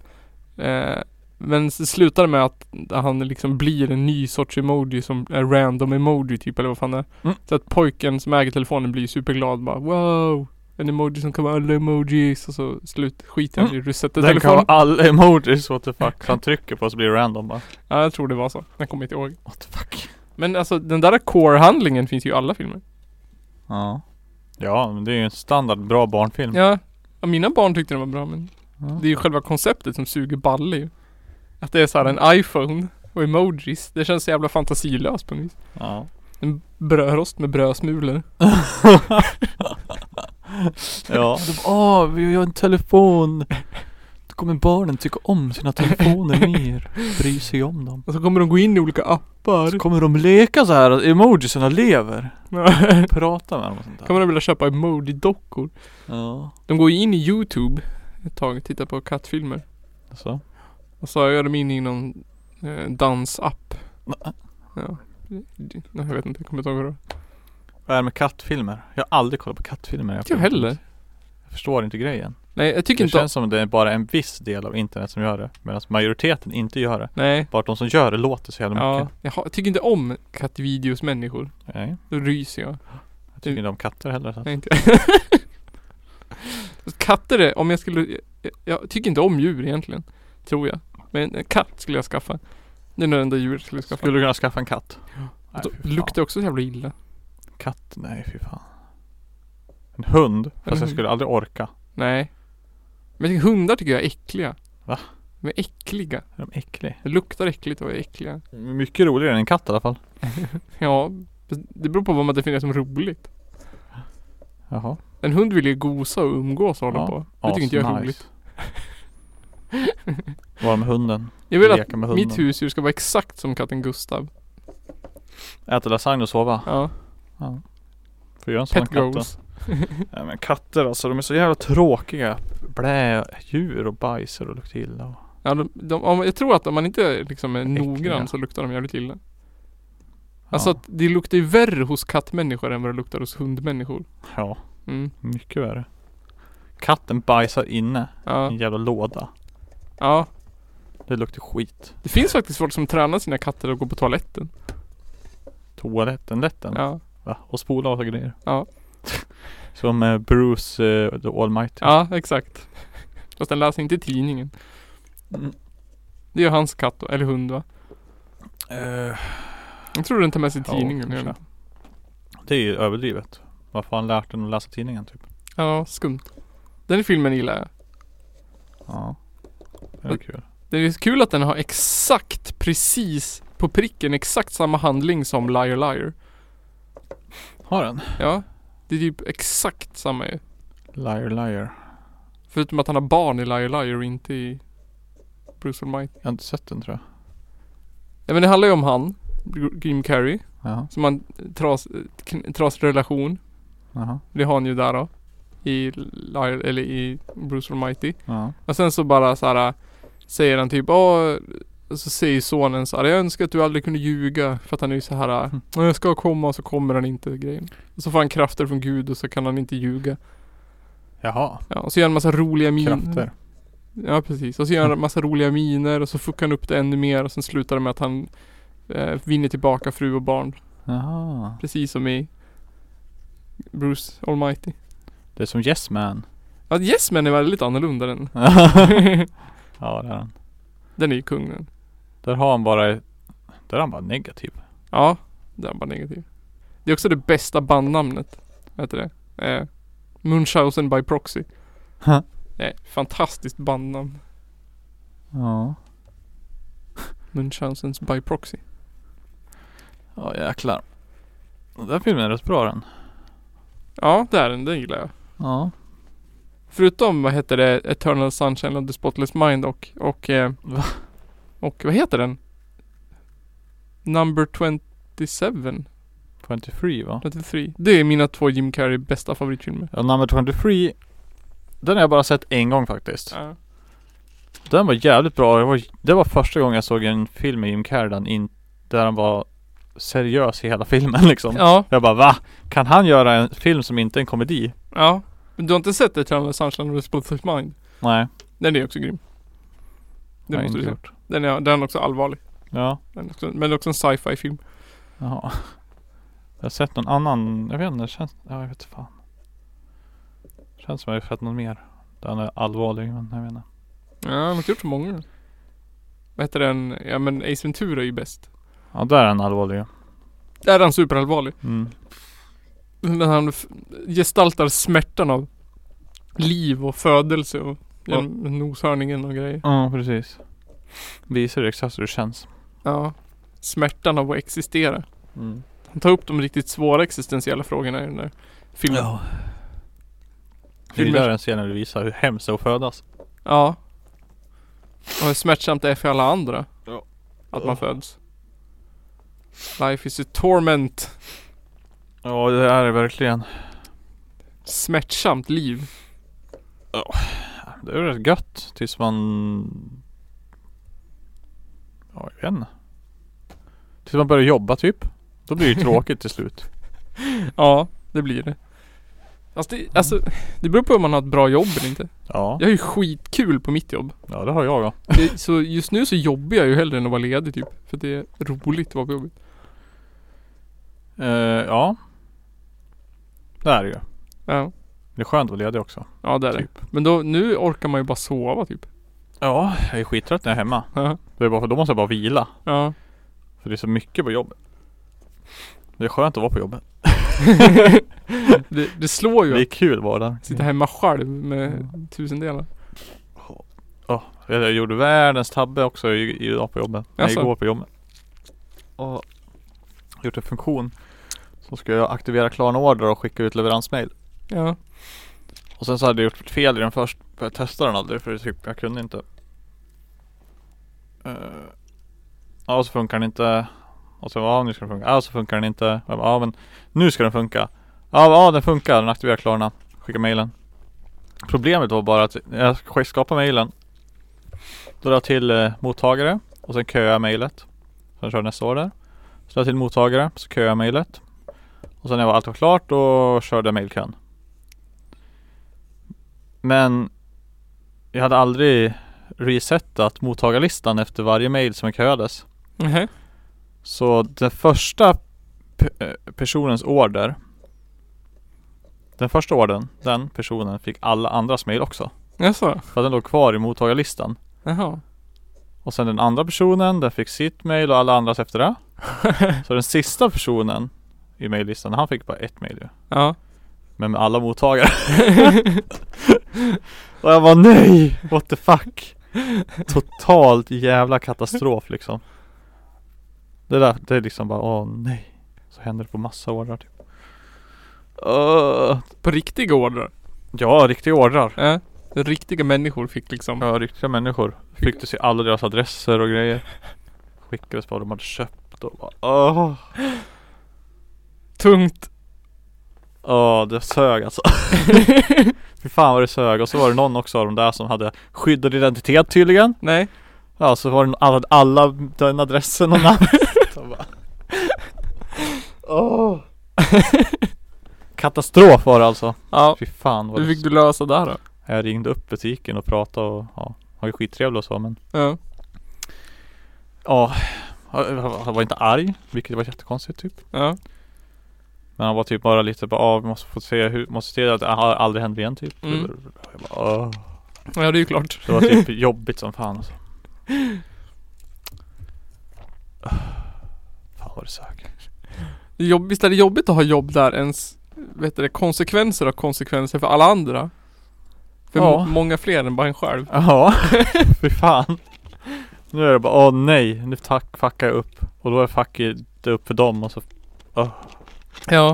eh, Men så slutar det med att han liksom blir en ny sorts emoji som är random emoji typ eller vad fan det är.
Mm.
Så att pojken som äger telefonen blir superglad bara wow En emoji som kan vara alla emojis och så slut skiter han i resetar
Mm. Den kan
telefonen.
vara alla emojis, what the fuck Så han trycker på så blir det random bara
Ja jag tror det var så. Jag kommer inte ihåg.
What the fuck
Men alltså den där core-handlingen finns ju i alla filmer.
Ja Ja men det är ju en standard bra barnfilm
Ja, ja, mina barn tyckte den var bra men
Mm. Ja.
det är ju själva konceptet som suger balle ju. Att det är så här en iPhone och emojis. Det känns så jävla fantasilöst på något vis.
ja.
En brödrost med brödsmulor.
Ja.
Åh, vi har en telefon. Då kommer barnen tycka om sina telefoner mer. Bry sig om dem.
Och så kommer de gå in i olika appar.
Så kommer de leka så här att emojisarna lever. Prata med dem och sånt där.
kommer de vilja köpa emoji-dockor.
Ja.
De går ju in i YouTube ett tag och tittar på kattfilmer.
Så.
Och så gör de in i någon eh, dansapp. Ja. Nej, Jag vet inte, jag kommer inte ihåg vad det var.
Vad är det med kattfilmer? Jag har aldrig kollat på kattfilmer.
Inte jag heller.
Jag förstår inte grejen.
Nej, jag tycker
Det
inte om...
känns som det är bara en viss del av internet som gör det. Medan majoriteten inte gör det.
Nej.
Bara att de som gör det låter så jävla
Ja,
mycket.
jag, har, jag tycker inte om kattvideos människor.
Nej.
Då ryser jag.
Jag tycker inte om katter heller. Så. att-
Nej, inte. Katter är, om jag skulle, jag, jag tycker inte om djur egentligen. Tror jag. Men en katt skulle jag skaffa. Det är nog det enda djuret jag skulle skaffa.
Skulle du kunna skaffa en katt? Nej,
Då
fy fan.
luktar också så jävla illa.
Katt? Nej fy fan. En hund? Fast jag
hund.
skulle aldrig orka.
Nej. Men jag tycker- hundar tycker jag är äckliga.
Va?
De är äckliga.
Är de äcklig?
Det luktar äckligt och är äckliga.
Mycket roligare än en katt i alla fall.
Ja, fast det beror på vad man definierar som roligt.
Jaha.
En hund vill ju gosa och umgås och hålla
Ja.
på. Det tycker inte jag är
Asnice.
roligt.
Vara med hunden.
Jag vill att
Leka med hunden.
mitt husdjur ska vara exakt som katten Gustav.
Äta lasagne och sova.
Ja.
Får göra en sån
Pet
katt då.
goals.
Nej men katter alltså, de är så jävla tråkiga. Blä djur och bajsar och luktar illa. Och...
Ja, de, de, om, jag tror att om man inte liksom är
Äckliga.
noggrann så luktar de jävligt illa.
Ja.
Alltså att det luktar ju värre hos kattmänniskor än vad det luktar hos hundmänniskor.
Ja,
Mm.
mycket värre. Katten bajsar inne i
Ja.
en jävla låda.
ja.
Det luktar skit.
Det finns faktiskt folk som tränar sina katter att gå på toaletten.
Toaletten, lätten.
Ja.
Va? Och spola och grejer.
Ja.
Som eh, Bruce eh, the Almighty.
Ja, exakt. Fast den läser inte tidningen.
Mm.
Det gör hans katt, då, eller hund va?
Eh,
Jag tror den tar med sig
Ja,
tidningen.
kanske.
Ja,
det är ju överdrivet. Varför har han lärt den att läsa tidningen typ?
ja skumt. Den filmen gillar jag.
Ja. Det är kul.
Det är kul att den har exakt precis på pricken exakt samma handling som Liar Liar.
Har den?
Ja. Det är typ exakt samma ju.
Liar liar.
Förutom att han har barn i Liar Liar och inte i Bruce Almighty.
Jag har inte sett den tror jag.
Nej men det handlar ju om han, Jim Carrey,
Jaha.
som har en eh, tras, kn- trasig relation.
Jaha.
Det har han ju där då. I Liar, eller i Bruce Almighty.
Ja.
Och sen så bara så här säger han typ Åh, så säger sonen så här, jag önskar att du aldrig kunde ljuga för att han är ju så här
Mm.
"Åh, jag ska komma och så kommer han inte grejen. Och så får han krafter från Gud och så kan han inte ljuga.
Jaha.
Ja, och så gör han massa roliga miner.
Krafter. Mm.
Ja precis. Och så gör han massa roliga miner och så fuckar han upp det ännu mer och sen slutar det med att han eh, vinner tillbaka fru och barn.
Jaha.
Precis som i Bruce Almighty.
Det är som Yes Man.
Ja, Yes Men är väldigt annorlunda den.
ja det är han.
Den är ju kungen.
Där har han bara... Där är han bara negativ.
Ja, den var negativ. Det är också det bästa bandnamnet. Vad heter det? Eh, Munchausen by proxy.
Ha.
Det är ett fantastiskt bandnamn.
Ja.
Munchausens by proxy.
Ja jäklar. Den där filmen är rätt bra den.
Ja, det är den. Den gillar jag.
Ja.
Förutom vad heter det? Eternal Sunshine of the Spotless Mind och... Och, eh,
Va?
och vad heter den? Number 27.
23 va?
23. Det är mina två Jim Carrey bästa favoritfilmer.
Ja, nummer 23 Den har jag bara sett en gång faktiskt
Ja.
Den var jävligt bra det var, det var första gången jag såg en film med Jim Carrey där han in, Där han var seriös i hela filmen liksom
ja.
Jag bara va? Kan han göra en film som inte är en komedi?
Ja. Men du har inte sett Eternal Sunshine of the Spotless Mind?
Nej
Den är också grym.
det
Den
har jag
måste du
inte
se.
gjort
Den är, den är också allvarlig.
Ja,
Den är också, men det är också en sci-fi film.
jaha Jag har sett någon annan, jag vet inte, det känns, ja jag vet fan Känns som jag har sett någon mer Där han är allvarlig men jag vet inte
Ja, de har inte gjort så många. Vad heter den? Ja men Ace Ventura är ju bäst.
Ja där är han allvarlig ja.
Där är han superallvarlig.
mm.
När han f- gestaltar smärtan av liv och födelse och
Ja.
genom noshörningen och grejer.
Ja precis Visar exakt hur det känns
Ja. Smärtan av att existera.
mm.
Han tar upp de riktigt svåra existentiella frågorna i den där filmen. Ja.
Jag
Filmer.
gillar den scenen du visar hur hemskt det är att födas.
ja. Och hur smärtsamt det är för alla andra.
Ja.
Att man föds. Life is a torment.
Ja det är det verkligen.
smärtsamt liv.
Det är ju rätt gött tills man.. Ja jag vet inte. Tills man börjar jobba typ. Då blir det ju tråkigt till slut.
Ja, det blir det. Alltså det, alltså, det beror på om man har ett bra jobb eller inte.
Ja,
Jag har ju skitkul på mitt jobb.
ja det har jag då.
Det, så just nu så jobbar jag ju hellre än att vara ledig typ. För det är roligt att vara på jobbet.
Eh, ja. Det är det ju.
Ja,
Det är skönt att vara ledig också.
ja det är det.
Typ.
Men då, nu orkar man ju bara sova typ.
Ja, jag är skittrött när jag är hemma.
Ja,
Det är bara för då måste jag bara vila.
ja.
För det är så mycket på jobbet. Det är skönt att vara på jobbet.
Det, det slår
Det är
ju att
kul att vara där.
sitta hemma själv med tusendelar.
Jag gjorde världens tabbe också i- idag på jobbet. Nej,
Jaså?
igår på jobbet. Och gjort en funktion. Som ska jag aktivera Klarna Order och skicka ut leveransmail.
Ja,
Och sen så hade jag gjort ett fel i den först. För jag testade den aldrig för jag tyckte jag kunde inte. Eh, Ja och så funkar den inte. Och så ja nu ska den funka. Ja så funkar den inte. Jag bara, Ja men nu ska den funka. Ja, ja den funkar. Den aktiverar Klarna. Skicka mailen. Problemet var bara att när jag skapade mailen. Då la jag till eh, mottagare. Och sen köade jag mailet. Sen körde nästa år där. Så la jag till mottagare. Så köade jag mailet. Och sen när allt var klart då körde jag mailkön. Men jag hade aldrig resetat mottagarlistan efter varje mail som jag köades.
Nähä.
Så den första pe- eh, personens order Den första ordern, den personen fick alla andras mail också.
Jaså?
För att den låg kvar i mottagarlistan.
Jaha.
Och sen den andra personen, den fick sitt mail och alla andras efter det. Så den sista personen i maillistan, han fick bara ett mail ju.
Ja.
Men med alla mottagare. och jag var nej! What the fuck? Totalt jävla katastrof liksom. Det där, det är liksom bara åh nej. Så händer det på massa ordrar typ. Öh,
På riktiga ordrar.
ja, riktiga ordrar.
Ja. Riktiga människor fick liksom.
Ja, riktiga människor. Fick du se alla deras adresser och grejer. Skickades på vad de hade köpt och bara åh.
Tungt.
Ja, det sög alltså. Fy fan vad det sög. Och så var det någon också av de där som hade skyddad identitet tydligen.
Nej.
Ja, så var det alla, alla den adressen och namnet. Så bara- Åh. Katastrof var det alltså.
Ja.
Fy fan vad
Hur
det...
fick du lösa det här då?
Jag ringde upp butiken och pratade och ja, har ju skittrevligt och så men
Ja.
ja, han han var inte arg, vilket var jättekonstigt typ.
Ja.
Men han var typ bara lite bara, ah, vi måste få se hur, måste se att det här aldrig händer igen typ.
Mm.
Jag bara, "Åh."
Ja det är ju klart.
Så det var typ jobbigt som fan alltså. Fan vad det sög.
Det är jobb- Visst är det jobbigt att ha jobb där ens vet du, det, konsekvenser har konsekvenser för alla andra? För
Ja.
må- många fler än bara en själv.
Ja, fy fan. Nu är det bara, åh nej, nu tack, fuckar jag upp. Och då är fucket upp för dem och så,
Ja.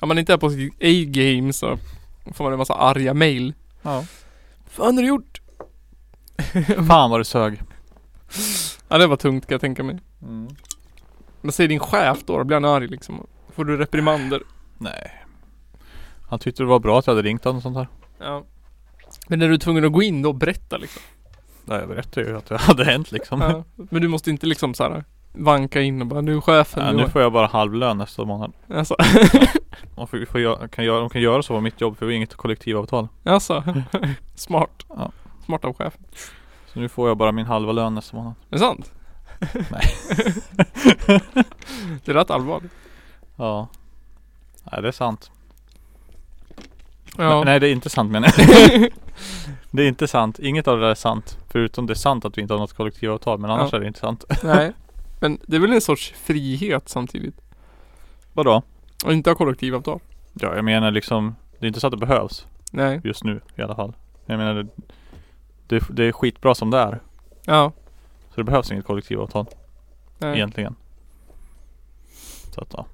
Om man inte är på sitt A-game så får man en massa arga mail.
ja.
Fan har du gjort?
Fan vad det sög.
Ja det var tungt kan jag tänka mig.
Mm.
Men säger din chef då, då blir han arg liksom. Får du reprimander.
Nej. Han tyckte det var bra att jag hade ringt honom och sånt här.
Ja. Men är du tvungen att gå in då och berätta liksom?
Nej, jag berättade ju att det hade hänt liksom.
Ja. Men du måste inte liksom så här vanka in och bara nu är chefen.
Nej,
nu
nu
har-"
får jag bara halvlön nästa månad.
Alltså.
De, får, får göra, kan göra, de kan göra så på mitt jobb för vi har inget kollektivavtal.
Alltså, smart.
Ja.
Smart av chefen.
Så nu får jag bara min halva lön nästa månad.
Är det sant?
Nej.
det är rätt allvarligt.
Ja. Nej, det är sant.
Ja.
Nej, det är inte sant menar jag. Det är inte sant. Inget av det där är sant. Förutom det är sant att vi inte har något kollektivavtal. Men annars
Ja.
är det inte sant.
Nej. Men det är väl en sorts frihet samtidigt.
Vadå?
Och inte ha kollektivavtal.
Ja, jag menar liksom. Det är inte så att det behövs.
Nej.
Just nu i alla fall. Jag menar det, det, det är skitbra som det är.
Ja.
Så det behövs inget kollektivavtal
Nej.
egentligen. Så att ja.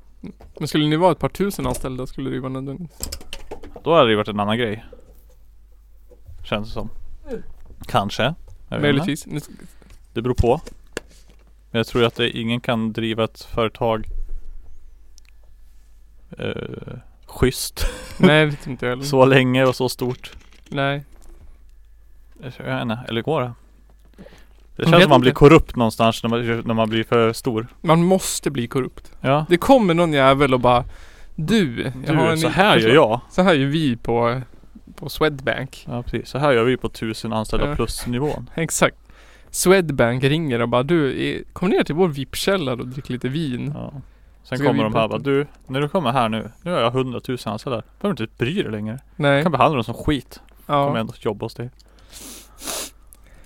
Men skulle ni vara ett par tusen anställda skulle det ju vara nödvändigt.
Då hade det ju varit en annan grej. Känns det som. Kanske. Jag vet inte.
Mm. Möjligtvis. Ni sk-
Det beror på. Men jag tror att det, ingen kan driva ett företag eh, schysst
Nej, det tror inte jag heller.
så länge och så stort.
Nej.
Jag vet inte, eller går det? Det
Jag
känns
vet
som att man blir
inte.
korrupt någonstans när man, när man blir för stor.
Man måste bli korrupt.
Ja.
Det kommer någon jävel och bara Du, jag har
Du,
en
så här gör jag.
Så här gör vi på, på Swedbank.
Ja precis. Så här gör vi på tusen anställda
Ja.
plus nivån.
Exakt. Swedbank ringer och bara du, eh, kom ner till vår VIP-källare och drick lite vin.
Ja. Sen
Ska Mm. vi
kommer de
prata?
här bara, du, när du kommer här nu, nu har jag 100 000 anställda. Du behöver inte bry dig längre.
Nej.
Jag kan behandla dem som skit.
ja.
Kommer ändå jobba hos dig.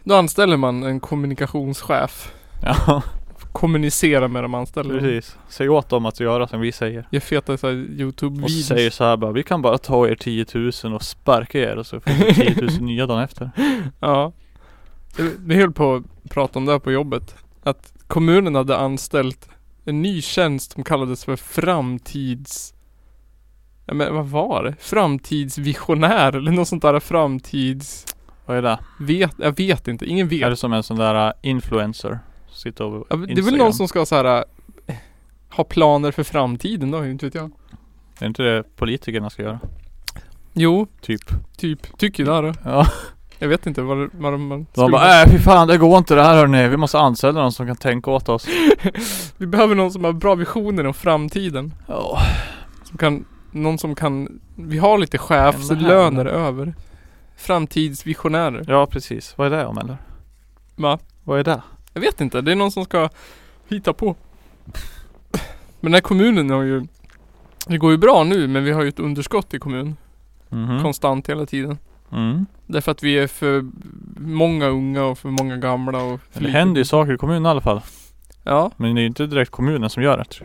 Då anställer man en kommunikationschef.
Ja,
Kommunicera med de anställda.
precis. Säg åt dem att göra som vi säger.
Jag feta så här
Och säger
Youtube-videos.
så här bara, vi kan bara ta er 10 000 och sparka er och så får ni 10 000 nya dagen efter.
Ja. Vi höll på att prata om det här på jobbet. Att kommunen hade anställt en ny tjänst som kallades för framtids... Ja, men vad var det? Framtidsvisionär eller något sånt där framtids...
Vad är det?
Vet, jag vet inte, ingen
Är
vet.
det som en sån där äh, influencer? Sitta och
Ja, Det är väl någon som ska så här äh, ha planer för framtiden då, inte vet jag.
Är inte det politikerna ska göra?
Jo,
Typ.
typ, tycker där då.
Ja.
Jag vet inte vad, vad de man
De
skulle-
bara, äh fy fan det går inte det här hörni. Vi måste anställa någon som kan tänka åt oss.
Vi behöver någon som har bra visioner om framtiden.
Ja.
Som kan, någon som kan, vi har lite
Men det här-
chefslöner över. framtidsvisionärer.
Ja precis, vad är det om eller?
Va?
Vad är det?
Jag vet inte, det är någon som ska hitta på. Men den här kommunen har ju Det går ju bra nu men vi har ju ett underskott i kommunen.
Mhm.
Konstant hela tiden.
Mm.
Därför att vi är för många unga och för många gamla och för
Men Det
lite-
händer ju saker i kommunen i alla fall.
Ja,
Men det är ju inte direkt kommunen som gör det.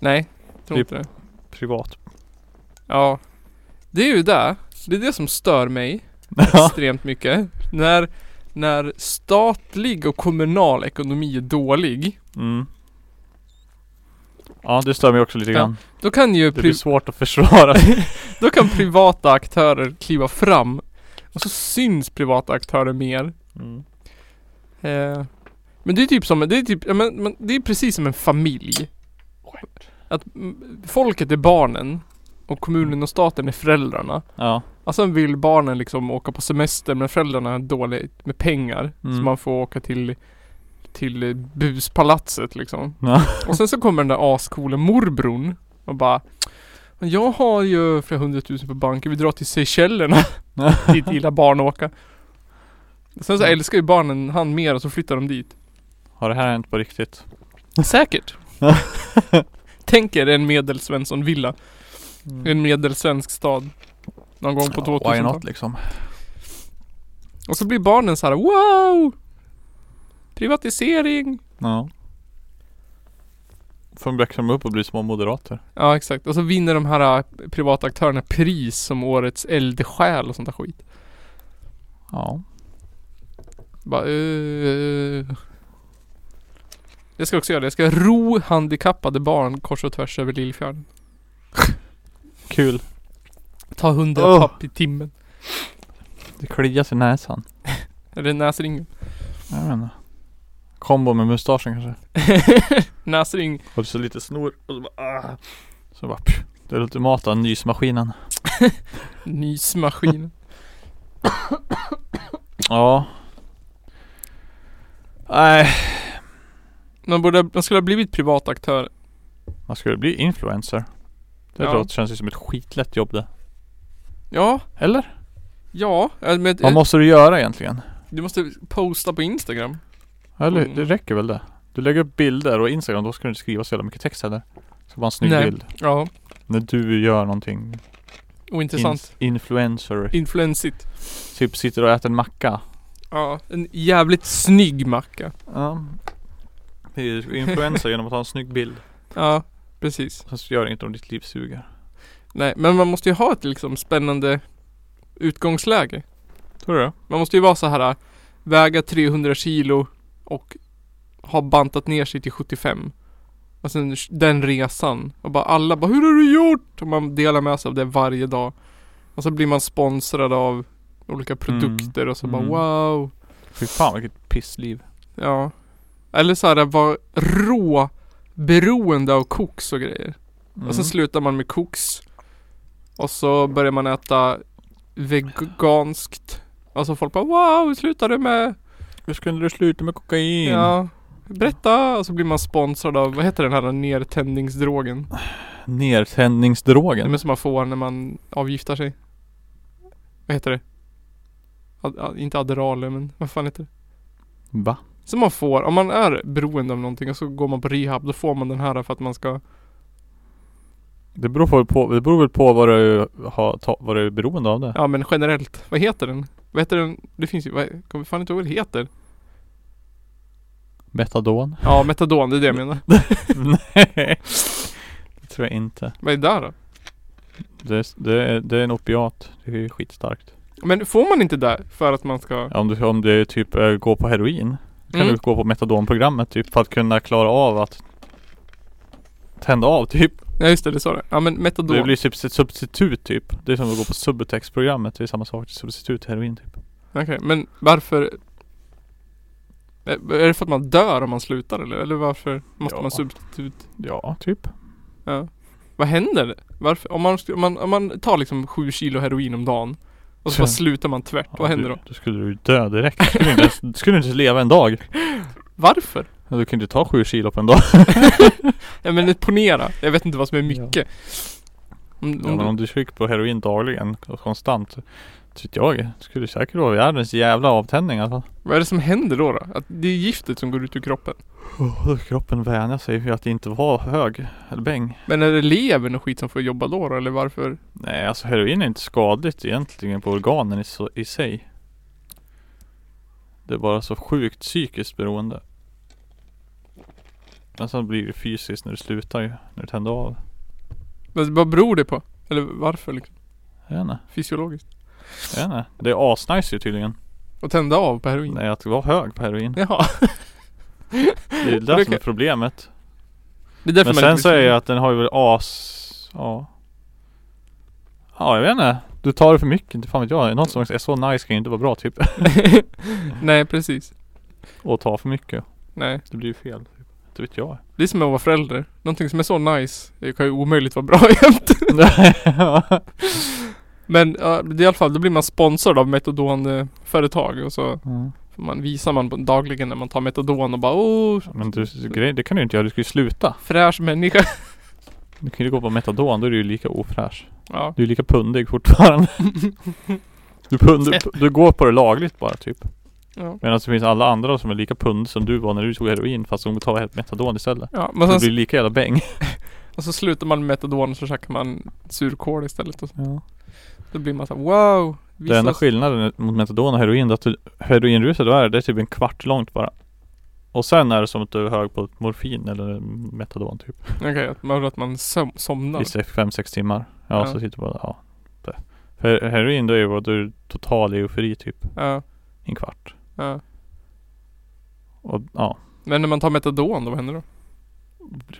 nej. Tror
Vi-
inte det.
Privat.
Ja. Det är ju det. Det är det som stör mig.
Ja.
extremt mycket. När, när statlig och kommunal ekonomi är dålig,
Mm. Ja det stör mig också lite
Ja.
grann.
då kan ju
Det blir
pri-
svårt att försvara.
då kan privata aktörer kliva fram. Och så syns privata aktörer mer.
Mm.
Eh, men det är typ som, det är typ, ja, men, men, det är precis som en familj. Att mm, folket är barnen och kommunen och staten är föräldrarna.
Ja.
Och sen Alltså, vill barnen liksom åka på semester men föräldrarna har dåligt med pengar. Så
Mm.
man får åka till, till eh, buspalatset liksom.
Ja.
Och sen så kommer den där ascoola morbrorn och bara "Men Jag har ju flera hundratusen på banken, vi drar till Seychellerna. dit gillar barn att åka. Och sen så älskar ju barnen han mer och så flyttar de dit.
Har det här hänt på riktigt?
Säkert. Tänk er en medelsvensson villa i en medelsvensk stad. Någon gång på
Ja, Why
2000-talet.
not liksom?
Och så blir barnen så här: wow! Privatisering!
Ja. Får de växa upp och bli små moderater.
Ja exakt, och så vinner de här äh, privata aktörerna pris som årets eldsjäl och sånt där skit.
Ja.
Bara, eh. Jag ska också göra det, jag ska ro handikappade barn kors och tvärs över Lillfjärden.
Kul.
Ta 100
Åh.
papp i timmen.
Det klias i näsan.
Eller näsringen.
Jag menar. Kombo med mustaschen kanske.
Näsring.
Och så lite snor och så bara ah. Så bara pff. Det är ultimata nysmaskinen.
Nysmaskin.
Ja. Nej.
De, borde, de skulle ha blivit privata aktörer.
Man skulle bli influencer. Det
Ja.
låter, känns ju som ett skitlätt jobb det.
Ja,
Eller?
ja. äh, Men,
Vad måste du göra egentligen?
du måste posta på Instagram.
Eller
Mm.
det räcker väl det? Du lägger upp bilder och Instagram, då ska du inte skriva så jävla mycket text heller. Så bara en snygg
Nej.
bild.
Ja,
När du gör någonting.
och intressant.
Ins- influencer.
Influensigt.
typ sitter och äter en macka.
Ja, en jävligt snygg macka.
Ja. Det är ju influencer genom att ha en snygg bild.
Ja, precis.
Sen så gör det inget om ditt liv suger.
Nej, men man måste ju ha ett liksom spännande utgångsläge.
Tror du
Man måste ju vara så här äh, väga 300 kilo och ha bantat ner sig till 75. Och sen den resan. Och bara alla bara Hur har du gjort? Och man delar med sig av det varje dag. Och så blir man sponsrad av olika produkter och så bara
Mm.
wow.
Fy fan vilket pissliv.
Ja. Eller så här vara rå beroende av koks och grejer.
Mm.
Och sen slutar man med koks. Och så börjar man äta veganskt. Alltså folk bara wow, slutar du med?
Hur skulle du sluta med kokain?
Ja. Berätta! Och så blir man sponsrad av, vad heter den här nertändningsdrogen?
Nertändningsdrogen.
Den som man får när man avgiftar sig. Vad heter det? Ad, ad, inte Adderall men vad fan heter det?
Va?
Som man får, om man är beroende av någonting och så går man på rehab, då får man den här för att man ska
Det beror, på, på, det beror väl på vad du, har, ta, vad du är beroende av det.
Ja men generellt, vad heter den? Vad heter den? Det finns ju, vad, jag kommer fan inte ihåg vad det heter.
Metadon?
Ja, metadon, det är det jag menar.
Nej. Det tror jag inte.
Vad är det där då?
Det, är- det, är, det är en opiat. Det är ju skitstarkt.
Men får man inte det för att man ska...
Ja, Om du, om du typ eh, går på heroin. Kan
Mm.
du gå på metadonprogrammet typ för att kunna klara av att tända av typ.
Ja just det, det sa det. Ja men metadon.
Det blir typ ett substitut typ. Det är som att gå på Subutex-programmet. Det är samma sak. Substitut till heroin typ.
Okej, men varför... Är är det för att man dör om man slutar eller? Eller varför måste
Ja.
man substitut?
Ja, typ.
Ja. Vad händer? Varför? Om man, om man, om man tar liksom 7 kilo heroin om dagen och så
Ja.
bara slutar man tvärt,
Ja,
vad händer
du,
då?
Då skulle du ju dö direkt. Du skulle inte ens, du skulle inte ens leva en dag.
Varför?
Ja, Du kan ju inte ta sju kilo på en dag.
Ja men ponera, jag vet inte vad som är mycket. Om,
Ja,
om
men
du-
om du trycker på heroin dagligen och konstant Så vet jag, det skulle säkert vara världens jävla avtändning alltså. i alla fall.
Vad är det som händer då? då? Att det är giftet som går ut ur kroppen.
Åh, kroppen vänjer sig vid att inte vara hög eller bäng.
Men är det levern och skit som får jobba då, då eller varför?
Nej, alltså heroin är inte skadligt egentligen på organen i, så, i sig. Det är bara så sjukt psykiskt beroende. Men sen blir det fysiskt när du slutar ju, när du tänder av.
Vad vad beror det på? Eller varför liksom?
Jag vet inte,
Fysiologiskt?
jag vet inte. Det är asnice ju tydligen.
Och tända av på heroin?
Nej, att vara hög på heroin.
Jaha.
Det är
Ja, det
det som är
kan-
problemet.
Det är därför
Men
man
sen
inte
så är
blir-
jag att den har ju väl as... Ja. Ja, jag vet inte. Du tar det för mycket, inte fan vet jag. Något som är så nice kan ju inte vara bra typ.
Nej precis.
Och ta för mycket.
Nej.
Det blir ju fel. Typ. Inte vet jag.
Det är som att vara förälder. Någonting som är så nice det kan ju omöjligt vara bra jämt. Men ja, det är i alla fall, då blir man sponsrad av metadonföretag och så
Mm.
får man, visar man på- dagligen när man tar metadon och bara åh,
Men du, grej, det kan du ju inte göra. Du ska ju sluta.
fräsch människa.
Du kan ju gå på metadon. Då är du ju lika ofräsch.
Ja.
Du är lika pundig fortfarande. Du, pund, du, du går på det lagligt bara typ.
Ja.
Medan det finns alla andra som är lika pund som du var när du tog heroin fast de tar helt metadon istället.
Ja, men
Så
sen,
blir det lika jävla bäng.
och så slutar man med metadon och så käkar man surkål istället. Och så.
Ja.
Då blir man så här, wow.
Den enda
visas-
skillnaden mot metadon och heroin är att du, heroinruset du är, det är typ en kvart långt bara. Och sen är det som att du är hög på morfin eller metadon typ.
Okej, att man, att man söm, somnar.
I se- fem sex timmar. Ja,
Ja.
så sitter du bara, ja. Det. För heroin då är ju bara att du är total eufori typ.
Ja,
i En kvart.
ja.
Och ja,
Men när man tar metadon, då vad händer då?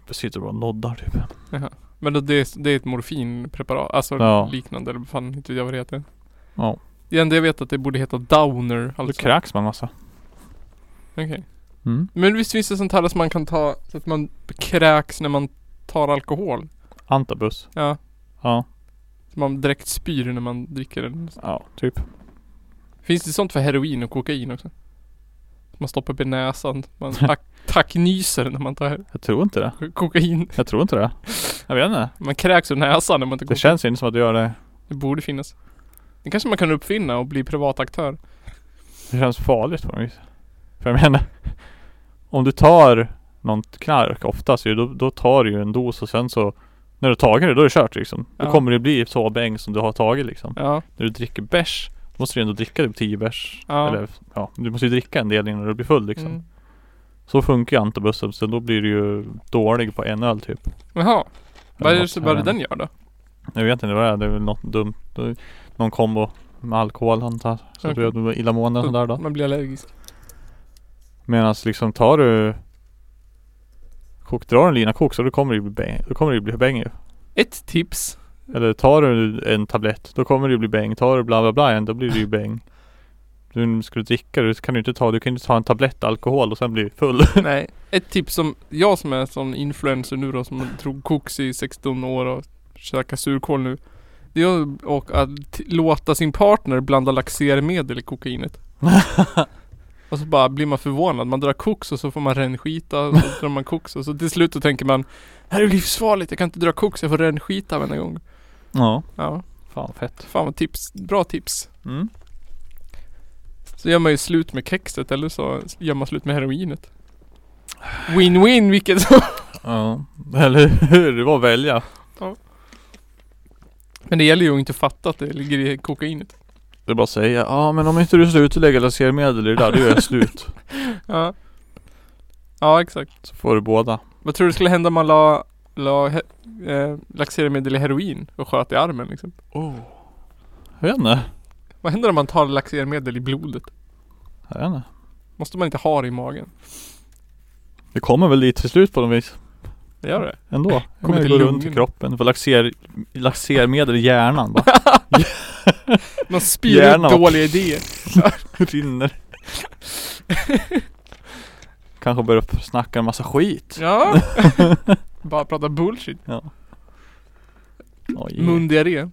du sitter bara och noddar typ.
Men då, det, är, det är ett morfinpreparat, alltså
Ja.
liknande eller vad fan inte vet jag vad det heter.
Ja.
Det enda jag vet att det borde heta downer
Då
alltså.
kräks man massa.
Okej.
Mm.
Men visst finns det sånt här som man kan ta så att man kräks när man tar alkohol?
Antabus.
Ja.
Ja.
Så man direkt spyr när man dricker den.
Ja, typ.
Finns det sånt för heroin och kokain också? Man stoppar upp i näsan. Man tack, tacknyser när man tar
Jag tror inte det.
kokain.
Jag tror inte det. Jag vet inte.
Man kräks ur näsan när man tar
Det
kokain.
känns inte som att du gör det.
Det borde finnas. Det kanske man kan uppfinna och bli privataktör.
Det känns farligt på något vis. För jag menar, om du tar något knark oftast ju, då, då tar du ju en dos och sen så när du har tagit det, då är det kört liksom. Då
Ja.
kommer det bli så bäng som du har tagit liksom.
Ja.
När du dricker bärs, då måste du ändå dricka typ 10 bärs.
Ja.
Eller ja, du måste ju dricka en del innan du blir full liksom.
Mm.
Så funkar ju antibussen, sen då blir du ju dålig på en öl typ.
Jaha. Vad är det,
något
som- vad är det
här.
den gör då?
Jag vet inte vad det är, det är väl något dumt. Det är Någon kombo med alkohol antar jag. Så
Okej.
att du blir illamående och sådär då.
Man blir allergisk.
Medan liksom tar du kok, drar en lina kok så då kommer det ju bli bäng. Då kommer det ju bli bäng ju.
Ett tips.
Eller tar du en tablett då kommer det ju bli bäng. Tar du bla bla bla igen då blir det ju bäng. Du skulle dricka du kan ju inte ta, du kan ju inte ta en tablett alkohol och sen bli full.
Nej. Ett tips som jag som är sån influencer nu då som drog koks i 16 år och käkar surkål nu. Det är att- och att t- låta sin partner blanda laxermedel i kokainet. och så bara blir man förvånad. Man drar koks och så får man rännskita och så drar man koks och så till slut så tänker man Det här är livsfarligt, jag kan inte dra koks, jag får rännskita varenda gång.
Ja.
Ja,
Fan fett.
fan vad tips, bra tips.
Mm.
Så gör man ju slut med kexet eller så gör man slut med heroinet. Win-win vilket som
Ja. Eller hur? Det var att välja.
Men det gäller ju att inte fatta att det ligger i kokainet.
Det är bara att säga, ja men om inte du slutar lägga lasermedel i det där då gör jag slut.
Ja. Ja, exakt.
Så får du båda.
Vad tror du skulle hända om man la, la he, eh, laxermedel i heroin och sköt i armen liksom?
Oh. Jag vet inte.
Vad händer om man tar laxermedel i blodet?
Jag vet inte.
Måste man inte ha det i magen?
Det kommer väl dit till slut på något vis.
Det gör det.
Ändå.
Kommer
Kommer
till
till runt i
lungorna.
kroppen. Får laxer, laxermedel i hjärnan bara.
Man spyr
Gärna.
ut dåliga idéer.
Rinner. Kanske börjar snacka en massa skit.
Ja. Bara prata bullshit.
Oj.
Mundiarré.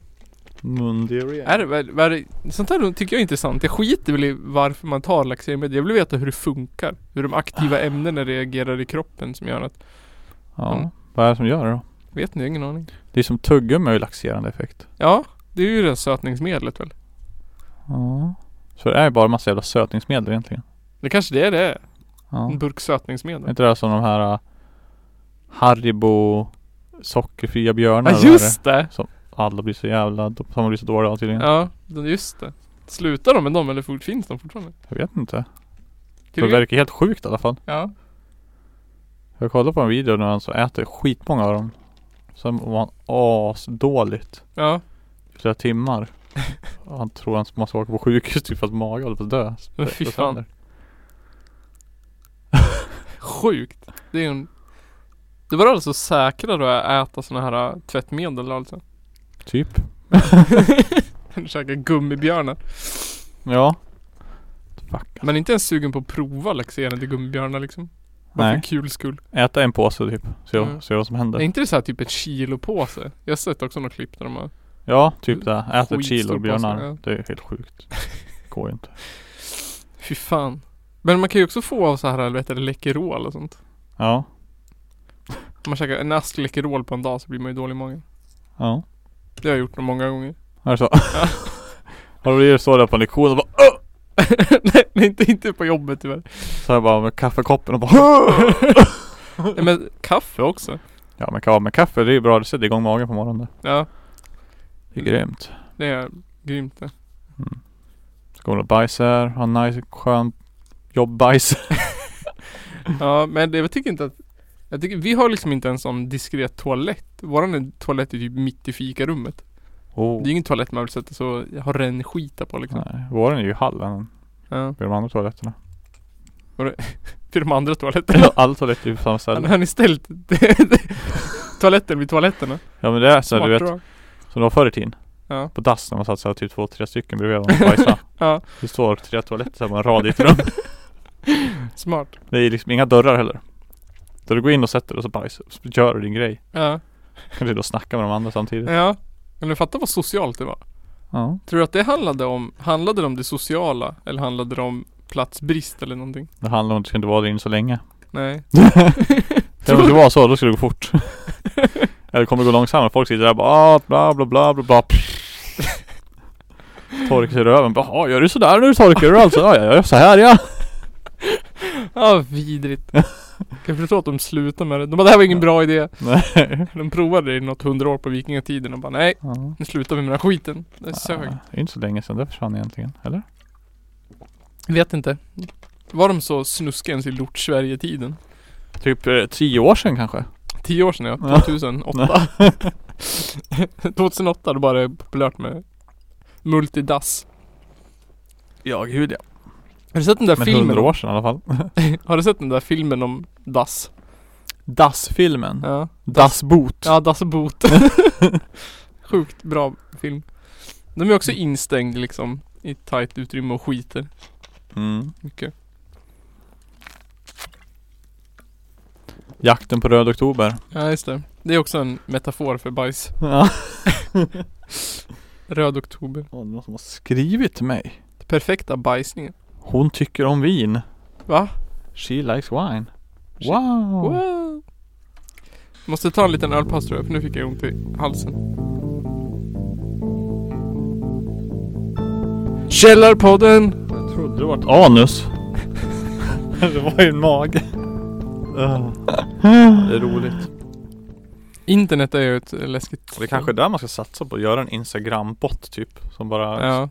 Mundiarré.
Är det, vad- vad är det, sånt här tycker jag är intressant. Jag skiter väl i varför man tar laxermedel. Jag vill veta hur det funkar. Hur de aktiva ämnena reagerar i kroppen som gör att...
Ja.
Mm.
Vad är det som gör det då?
Vet ni? Jag har ingen aning.
Det är som tuggummi har ju laxerande effekt.
Ja, det är ju det sötningsmedlet väl?
Ja.
Så det är ju bara massa jävla sötningsmedel egentligen.
Det kanske det är det är.
Ja.
En burk
Är
sötningsmedel.
inte det här som de här äh, Haribo sockerfria björnar?
Ja
eller vad är
just det!
det? Alla blir så jävla, de som blir så dåliga av tydligen.
Ja, det- just det. Slutar de med dem eller fort- finns de fortfarande?
Jag vet inte. Det
Kryger?
verkar helt sjukt i alla fall.
Ja.
Jag kollade på en video när han så äter skitmånga av dem. Sen var han asdåligt.
Ja.
i Flera timmar. Han tror han måste åka på sjukhus typ för att magen håller på att dö.
Men fy
Sönder.
fan. Sjukt. Det är ju en... Det var alltså säkrare att äta såna här äh, tvättmedel alltså?
Typ.
Än att käka gummibjörnar.
Ja. Fuck.
Men inte ens sugen på att prova laxerande gummibjörnar liksom. Bara
Nej.
för kul skull.
Äta en påse typ. Se,
Mm.
se vad som
Är
händer.
inte det så här typ ett kilo påse? Jag har sett också några klipp där de har...
Ja, typ det. Ät ett
Skitstor
kilo björnar.
påse, ja.
Det är helt sjukt. Går ju inte.
Fy fan. Men man kan ju också få av så här, eller vet du, Läkerol och sånt.
Ja.
Om man käkar en ask Läkerol på en dag så blir man ju dålig i magen.
Ja.
Det har jag gjort nog många gånger.
Är det så? Har du så där på en lektion och bara
nej, nej inte, inte på jobbet tyvärr.
så här bara med kaffekoppen och bara
Nej, men kaffe också.
Ja men kaffe, men kaffe det är ju bra. Det sätter igång magen på morgonen.
Ja,
Det är grymt.
det är grymt det.
Så går man och bajsar, har en nice skön jobbbajs.
Ja, men det, jag tycker inte att... Jag tycker, vi har liksom inte en sån diskret toalett. Våran är- toalett är typ mitt i fikarummet.
Oh.
Det är ingen toalett man vill sätta så jag har ren skita på liksom.
Nej, våren är ju i hallen
Ja.
vid de andra toaletterna.
Till de andra toaletterna.
Alla toaletter är ju på samma
Han
ställe.
har ni ställt toaletten vid toaletterna?
Ja men det är så här, du vet,
drag.
som det var förr i tiden.
Ja.
På dass när man satt såhär typ två, tre stycken bredvid varandra och bajsade.
Ja,
Det står tre toaletter så här på en rad i ett rum.
smart.
Det är liksom inga dörrar heller. Så du går in och sätter dig och så bajsar, så gör du din grej.
Ja.
Kan du då snacka med de andra samtidigt.
ja. Men du fattar vad socialt det var?
Ja.
Tror du att det handlade om, handlade det om det sociala? Eller handlade det om platsbrist eller någonting?
Det handlar om att du ska inte vara där inne så länge.
Nej.
Det måste vara så, då skulle det gå fort. Eller kommer det gå långsammare. Folk sitter där och bara ah, bla bla bla bla bla. Torkar sig i röven. Bara, "Jaha, gör du sådär nu? Torkar du alltså? Ja, jag gör så här ja.
Ja, Ah, vidrigt. Kan förstå att de slutar med det. De bara, det här var ingen
Ja.
bra idé.
Nej.
De provade det i något hundra år på vikingatiden och bara, nej,
Ja.
nu slutar vi med den här skiten. Det sög.
Ja, det är inte så länge sedan det försvann egentligen. Eller?
Vet inte. Var de så snuskiga ens i lort-Sverige-tiden?
Typ eh, tio år sedan kanske.
Tio år sedan ja,
Ja.
2008. 2008 då bara det populärt med multidass.
Ja, gud ja.
Har du sett den där
Men
filmen?
hundra år sedan i alla fall.
Har du sett den där filmen om dass?
Das-filmen.
Ja.
Das Boot.
Ja, Das Boot. Sjukt bra film. De är också instängd liksom i ett tajt utrymme och skiter.
Mm.
Mycket.
Jakten på Röd Oktober.
Ja, just det. Det är också en metafor för bajs.
Ja.
Röd oktober.
Åh, det är någon som har skrivit till mig.
Den perfekta bajsningen.
Hon tycker om vin.
Va?
She likes wine.
She-
Wow.
Wow. Måste ta en liten ölpaus tror jag, för nu fick jag ont i halsen. Källarpodden!
Jag trodde det var ett anus. det var ju en mage. Ah. det är roligt.
Internet är ju ett läskigt...
Det är kanske är där man ska satsa på. Göra en Instagram-bot typ. Som bara
Ja.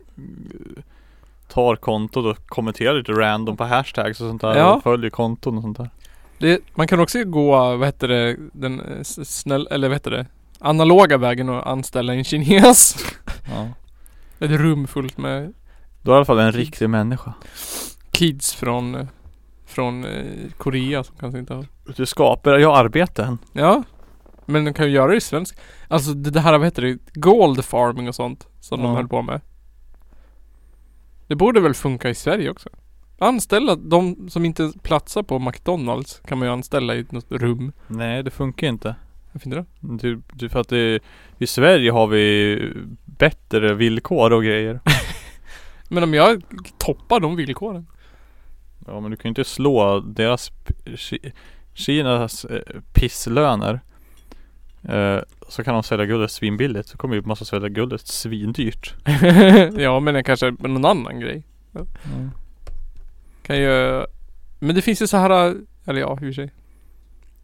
tar kontot och kommenterar lite random på hashtags och sånt där.
Ja.
Och följer konton och sånt där.
Det, man kan också gå, vad heter det, den eh, s- snäll... Eller vad heter det? Analoga vägen och anställa en kines.
Ja.
Ett rum fullt med
Då är det i alla fall en riktig människa.
kids från... eh, Från eh, Korea som kanske inte har...
Du skapar, jag arbeten.
Ja. Men de kan ju göra det i svensk. Alltså det, det här, vad heter det? Gold farming och sånt. Som de
Ja.
höll på med. Det borde väl funka i Sverige också? Anställa de som inte platsar på McDonalds kan man ju anställa i något rum.
Nej det funkar inte.
Varför inte det?
Du, du för att det, i Sverige har vi bättre villkor och grejer.
Men om jag toppar de villkoren.
Ja men du kan ju inte slå deras Ki- Kinas eh, pisslöner eh, Så kan de sälja guldet svinbilligt, så kommer ju massa sälja guldet svindyrt
ja men det kanske är någon annan grej.
Mm.
Kan ju... Men det finns ju så här... Eller ja, hur sig.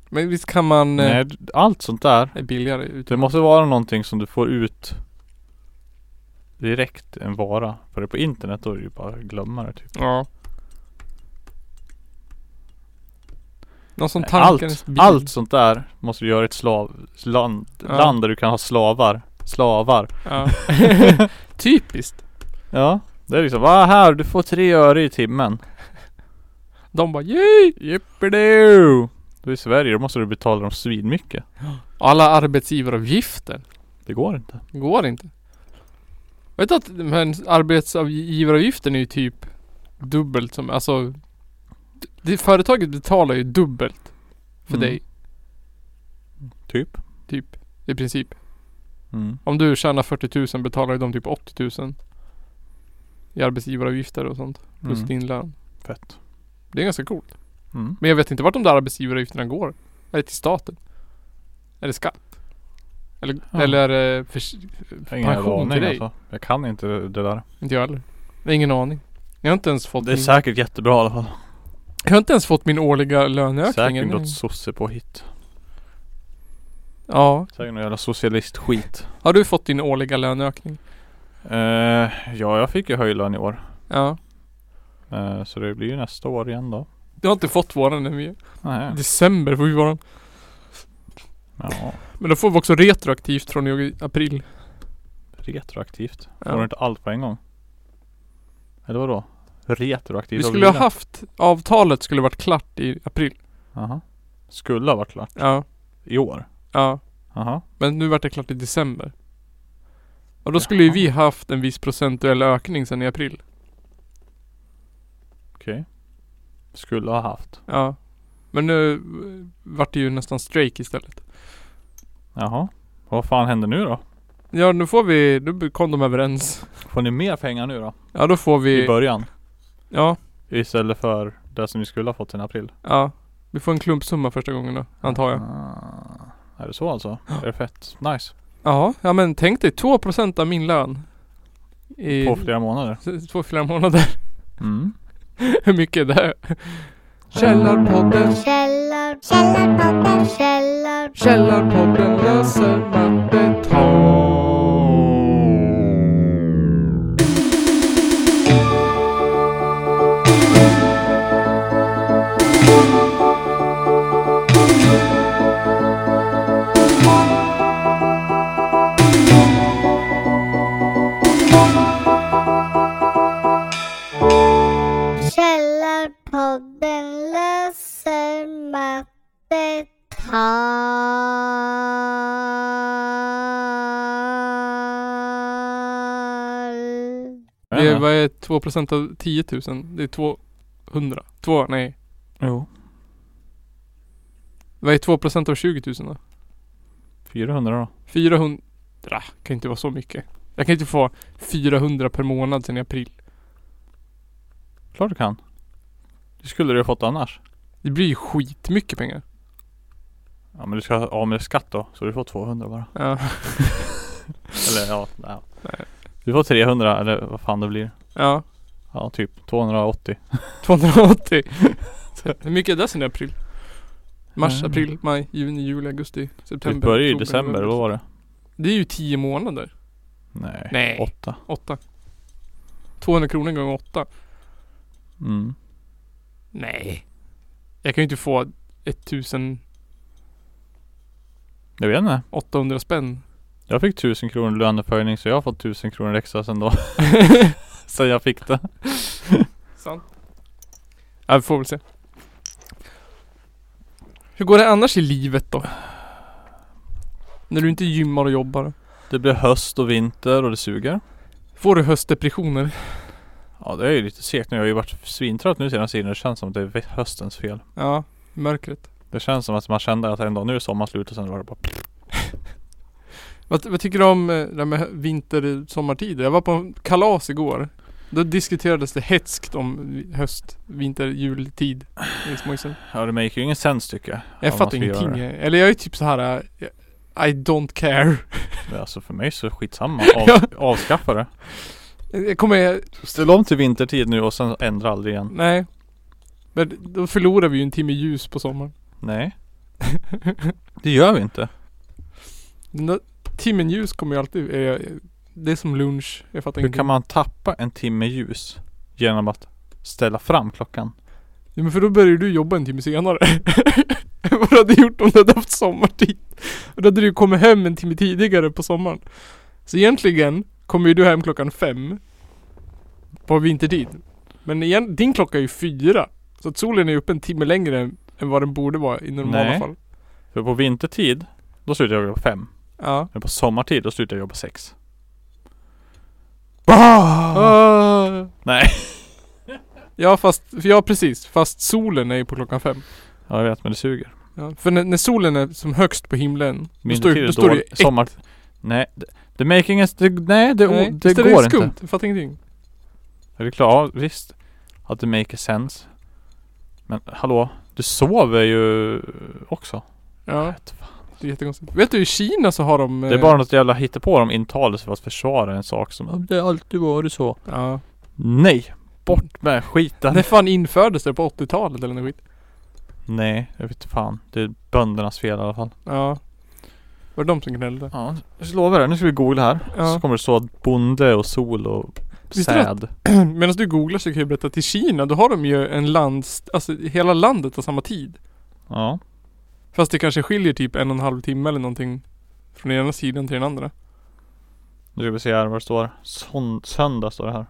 Men visst kan man... eh,
Nej, Typ. d- allt sånt där
Är billigare ut.
Det måste vara någonting som du får ut Direkt en vara För det på internet då är det ju bara att glömma det typ
Ja. Någon som
Nej,
tankar
allt,
ens bil.
allt sånt där måste du göra i ett slav, land,
Ja.
land där du kan ha slavar Slavar
Ja. Typiskt.
Ja Det är liksom, vad här, du får tre öre i timmen
De bara yay!
Jippidu! Du är i Sverige, då måste du betala dem svinmycket
Alla arbetsgivaravgifter.
Det går inte
Det Går inte. Vet du att men arbetsgivaravgiften är ju typ dubbelt som, alltså. d- Det, företaget betalar ju dubbelt för
Mm.
dig,
Typ
typ. I princip.
mm.
Om du tjänar 40 000 betalar ju de typ 80 000. I arbetsgivaravgifter och sånt. Plus
Mm.
din lön.
Fett
Det är ganska coolt.
mm.
Men jag vet inte vart de där arbetsgivaravgifterna går. Är det till staten? Är det skatt? Eller,
Ja.
eller är det förs-
Jag har Ingen
pension till
aning
dig?
alltså. Jag kan inte det det där
Inte jag heller. Jag har ingen aning. Jag har inte ens fått,
Det är
min,
säkert jättebra i alla fall
jag har inte ens fått min årliga löneökning.
Säkert
än.
något sosse på hit
Ja.
Säkert någon jävla socialistskit
Har du fått din årliga löneökning?
Eh, Ja, jag fick ju höjd lön i år
Ja.
Eh, Så det blir ju nästa år igen då
Du har inte fått våran än. vi-
Nej.
December får vi våran.
Ja,
Men då får vi också retroaktivt från i april.
retroaktivt Får
Ja.
du inte allt på en gång? Eller vadå? Retroaktivt?
Vi
av
skulle ha
bilen?
haft, avtalet skulle varit klart i april.
Jaha Skulle ha varit klart
Ja.
i år?
Ja.
Jaha
Men nu vart det klart i december. Och då skulle ju
Jaha.
vi haft en viss procentuell ökning sen i april.
Okej Skulle ha haft
Ja. Men nu eh, vart det ju nästan strejk istället.
Jaha Vad fan händer nu då?
Ja nu får vi, nu kom de överens.
Får ni mer pengar nu då?
Ja då får
I
vi,
början?
ja,
Istället för det som ni skulle ha fått sen i april?
ja. Vi får en klumpsumma första gången då, antar jag.
Ah, är det så alltså? Är det fett nice?
Ja, ja men tänk dig 2% av min lön. I
På flera månader?
s- två, fyra månader.
Mm.
Hur mycket är det? Källarpodden,
Källar, källarpodden, källar,
Källarpodden löser mattetal.
källarpodden löser mattetal.
Det är, vad är 2% av 10 000? Det är 200. Två, nej.
Jo.
Vad är 2% av 20 000 då?
400 då?
400 kan inte vara så mycket. Jag kan inte få 400 per månad sen i april.
Klart du kan. Det skulle du ha fått annars.
Det blir ju skitmycket pengar.
Ja men du ska ha av med skatt då. Så du får 200 bara.
Ja.
Eller ja, nej. Du får 300 eller vad fan det blir.
ja.
Ja typ 280.
280. Hur mycket är det sen i april? Mars,
Mm.
april, maj, juni, juli, augusti,
Du
september.
börjar ju i
oktober,
december,
november.
vad var det?
Det är ju 10 månader.
Nej.
Nej.
Åtta.
8. 200 kronor gånger 8.
Mm.
Nej. Jag kan ju inte få 1800
Jag vet inte.
spänn.
Jag fick 1000 kronor löneförhöjning så jag har fått 1000 kronor extra sen då. sen jag fick det.
Sant. Ja, vi får väl se. Hur går det annars i livet då? När du inte gymmar och jobbar.
Det blir höst och vinter och det suger.
Får du höstdepressioner?
Ja det är ju lite segt nu. Jag har ju varit svintrött nu senaste tiden. Det känns som att det är höstens fel.
Ja, mörkret.
Det känns som att man kände att en dag nu är sommaren slut och sen var det bara
Vad, vad tycker du om eh, det här med hö- vinter och sommartider? Jag var på en kalas igår. Då diskuterades det hetskt om vi- höst, vinter, jultid i småhusen.
Ja det make ju ingen sens tycker jag.
Jag
om man
fattar
ska göra
ingenting.
det.
Eller jag är typ så här. eh, Jag, I don't care.
Men Alltså för mig så är det skitsamma.
Ja.
Av, avskaffa det.
Jag kommer...
Ställ om till vintertid nu och sen ändra aldrig igen.
Nej. Men då förlorar vi ju en timme ljus på sommaren.
Nej. Det gör vi inte.
Den där timmen ljus kommer ju alltid... eh, Det är som lunch. Jag fattar
Hur
ingenting.
kan man tappa en timme ljus genom att ställa fram klockan?
Ja, men för då börjar ju du jobba en timme senare. Vad du hade gjort om du hade haft sommartid. Och då hade du ju kommit hem en timme tidigare på sommaren. Så egentligen kommer ju du hem klockan fem. På vintertid. Men igen, din klocka är ju fyra. Så att solen är uppe en timme längre än, än vad den borde vara i normala
Nej.
fall.
För på vintertid, då slutar jag jobba fem.
Ja.
Men på sommartid, då slutar jag jobba sex.
Ah.
Nej.
Ja fast, för ja precis. Fast solen är ju på klockan fem.
Ja, jag vet men det suger.
Ja, för när, när solen är som högst på himlen. Då står,
Vintertid
ju-
är
då står det ju
dåligt. Sommar... Nej. det- The making is... The, nej, det, nej,
Nej,
det
visst är
går
det skumt.
inte.
Jag fattar ingenting.
Är det klart? Ja, visst. Att det makes sense. Men hallå? Du sover ju också. Jag
Ja,
vet fan.
det är jättekonstigt. Vet du i Kina så har de...
Det är
eh,
bara något jävla hittepå de intalar sig för att försvara en sak som... "Ja, Det har alltid varit så.
Ja.
Nej! Bort med skiten!
När fan infördes det? På 80-talet eller något skit?
Nej, jag vet fan. Det är böndernas fel i alla fall.
Ja. Var det de som gnällde?
Ja, jag lovar det. Nu ska vi googla här.
Ja.
Så kommer det stå att bonde och sol och
Visst är det
säd.
Medan du googlar så kan jag berätta att i Kina då har de ju en lands... Alltså hela landet har samma tid.
Ja.
Fast det kanske skiljer typ en och en halv timme eller någonting. Från den ena sidan till den andra.
Nu ska vi se här vad det står. Sån, söndag står det här.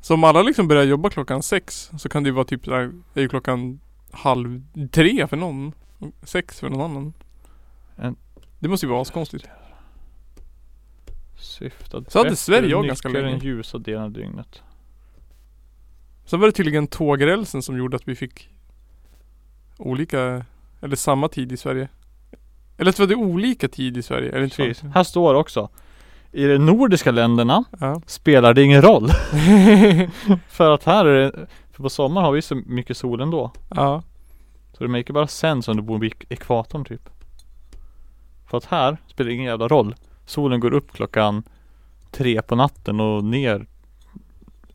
Så om alla liksom börjar jobba klockan sex så kan det ju vara typ där, det är ju klockan halv tre för någon. Sex för någon annan.
En-
Det måste ju vara askonstigt.
Syftad
Så hade
bättre
Sverige jag ganska
nyttjar den
länge.
ljusa delen av dygnet.
Sen var det tydligen tågrälsen som gjorde att vi fick olika, eller samma tid i Sverige. Eller så var det olika tid i Sverige, eller inte
Precis.
sant?
Här står det också. I de nordiska länderna
Ja.
spelar det ingen roll. för att här är det, för på sommaren har vi så mycket sol ändå.
ja.
Så det maker bara sense om du bor vid ekvatorn typ. För att här spelar det ingen jävla roll. Solen går upp klockan tre på natten och ner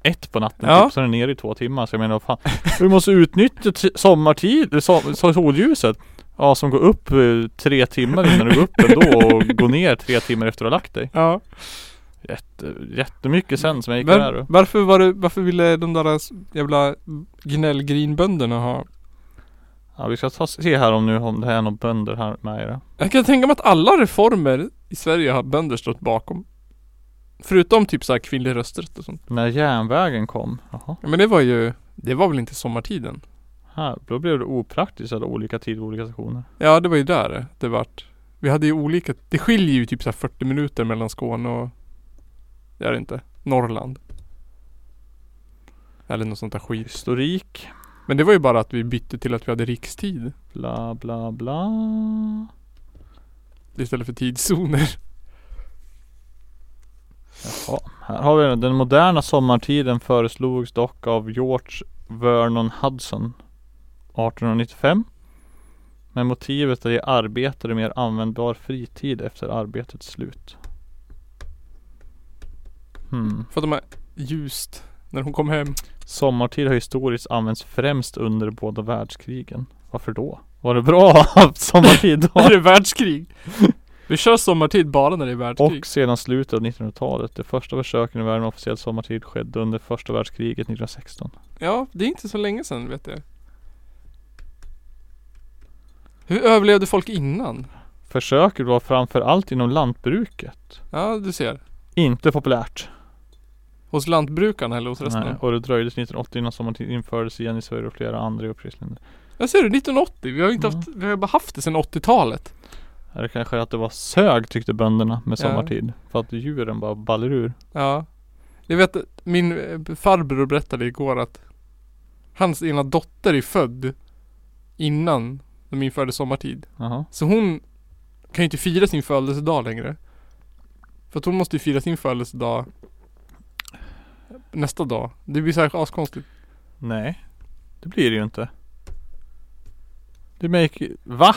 ett på natten
Ja.
typ, så är den nere i två timmar. Så jag menar vad fan. Vi måste utnyttja t- sommartid, so- so- solljuset. Ja som går upp eh, tre timmar innan du går upp ändå och går ner tre timmar efter du har lagt dig.
ja.
Jätte, jättemycket sens maker
Var-
där.
varför var det, varför ville de där s- jävla gnällgrinbönderna ha?
Ja, vi ska ta, se här om nu om det är några bönder här med i det.
Jag kan tänka mig att alla reformer i Sverige har bönder stått bakom. Förutom typ såhär kvinnlig rösträtt och sånt.
När järnvägen kom. Jaha.
Ja, Men det var ju, det var väl inte sommartiden?
Här, då blev det opraktiskt att ha olika tid på olika stationer.
Ja, det var ju där det vart. Vi hade ju olika, det skiljer ju typ så här 40 minuter mellan Skåne och, det är det inte, Norrland. Eller något sånt där skit.
Historik,
Men det var ju bara att vi bytte till att vi hade rikstid
bla bla bla.
istället för tidszoner.
Jaha, här har vi den. Den moderna sommartiden föreslogs dock av George Vernon Hudson 1895. Med motivet att ge arbetare mer användbar fritid efter arbetets slut. Hmm.
För att de är ljust när hon kom hem.
Sommartid har historiskt använts främst under båda världskrigen. Varför då? Var det bra att ha haft sommartid då?
När det är världskrig. Vi kör sommartid bara när det är världskrig.
Och sedan slutet av 1900-talet. De första försöken i världen med officiell sommartid skedde under första världskriget 1916.
Ja, det är inte så länge sedan vet jag. Hur överlevde folk innan?
Försöket var framför allt inom lantbruket.
Ja, du ser.
Inte populärt.
Hos lantbrukarna eller hos resten
Nej,
av-
och det dröjde till 1980 innan sommartid infördes igen i Sverige och flera andra europeiska länder.
Jag ser det, 1980. Vi har ju inte
Ja.
haft, vi har ju bara haft det sedan 80-talet.
Är det kanske att det var sög tyckte bönderna med
Ja.
sommartid. För att djuren bara ballar ur.
Ja. Jag vet att min eh, farbror berättade igår att hans ena dotter är född innan de införde sommartid.
Jaha.
Så hon kan ju inte fira sin födelsedag längre. För att hon måste ju fira sin födelsedag nästa dag. Det blir särskilt askonstigt.
Nej. Det blir det ju inte. Det make... Va?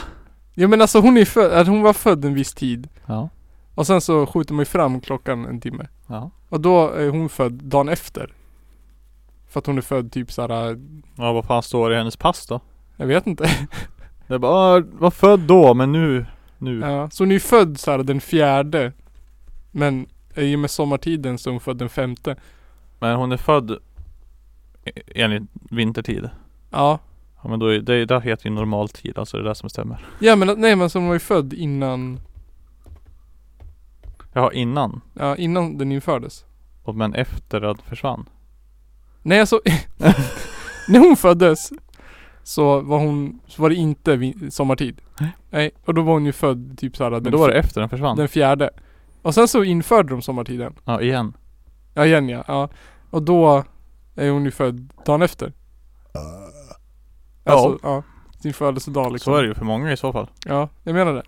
Jo men alltså hon är född, att hon var född en viss tid.
Ja.
Och sen så skjuter man ju fram klockan en timme.
Ja.
Och då är hon född dagen efter. För att hon är född typ såhär,
Ja vad fan står det i hennes pass då?
jag vet inte.
Det är bara, ah, var född då men nu, nu.
Ja. Så hon är ju född såhär den fjärde. Men i och med sommartiden så är hon född den femte.
Men hon är född e- enligt vintertid.
Ja.
Ja men då är, det, det heter ju normaltid, alltså det är det som stämmer.
Ja men att- nej men så hon var ju född innan,
Jaha innan?
ja innan den infördes.
Och, men efter att den försvann?
Nej alltså, när hon föddes så var hon, så var det inte vin- sommartid.
Nej.
Nej. Och då var hon ju född typ såhär
Men
den,
då var
fj-
det efter den försvann?
den fjärde. Och sen så införde de sommartiden.
Ja igen.
Ja igen ja. ja. Och då är hon ju född dagen efter. Alltså, ja. Sin födelsedag liksom.
Så är det ju för många i så fall.
Ja, jag menar det.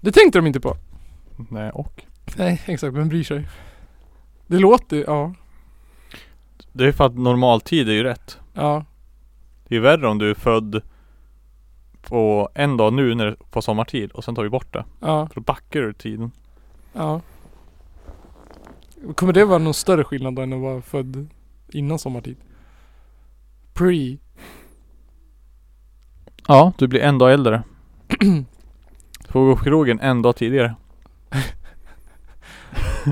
Det tänkte de inte på.
Nej och.
Nej, exakt. Vem bryr sig? Det låter ju- ja.
Det är för att normaltid är ju rätt.
Ja.
Det är ju värre om du är född på en dag nu när det, på sommartid och sen tar vi bort det.
Ja.
För då backar du tiden.
Ja. Kommer det vara någon större skillnad då än att vara född innan sommartid? Pre.
Ja, du blir en dag äldre. Du får gå på krogen en dag tidigare.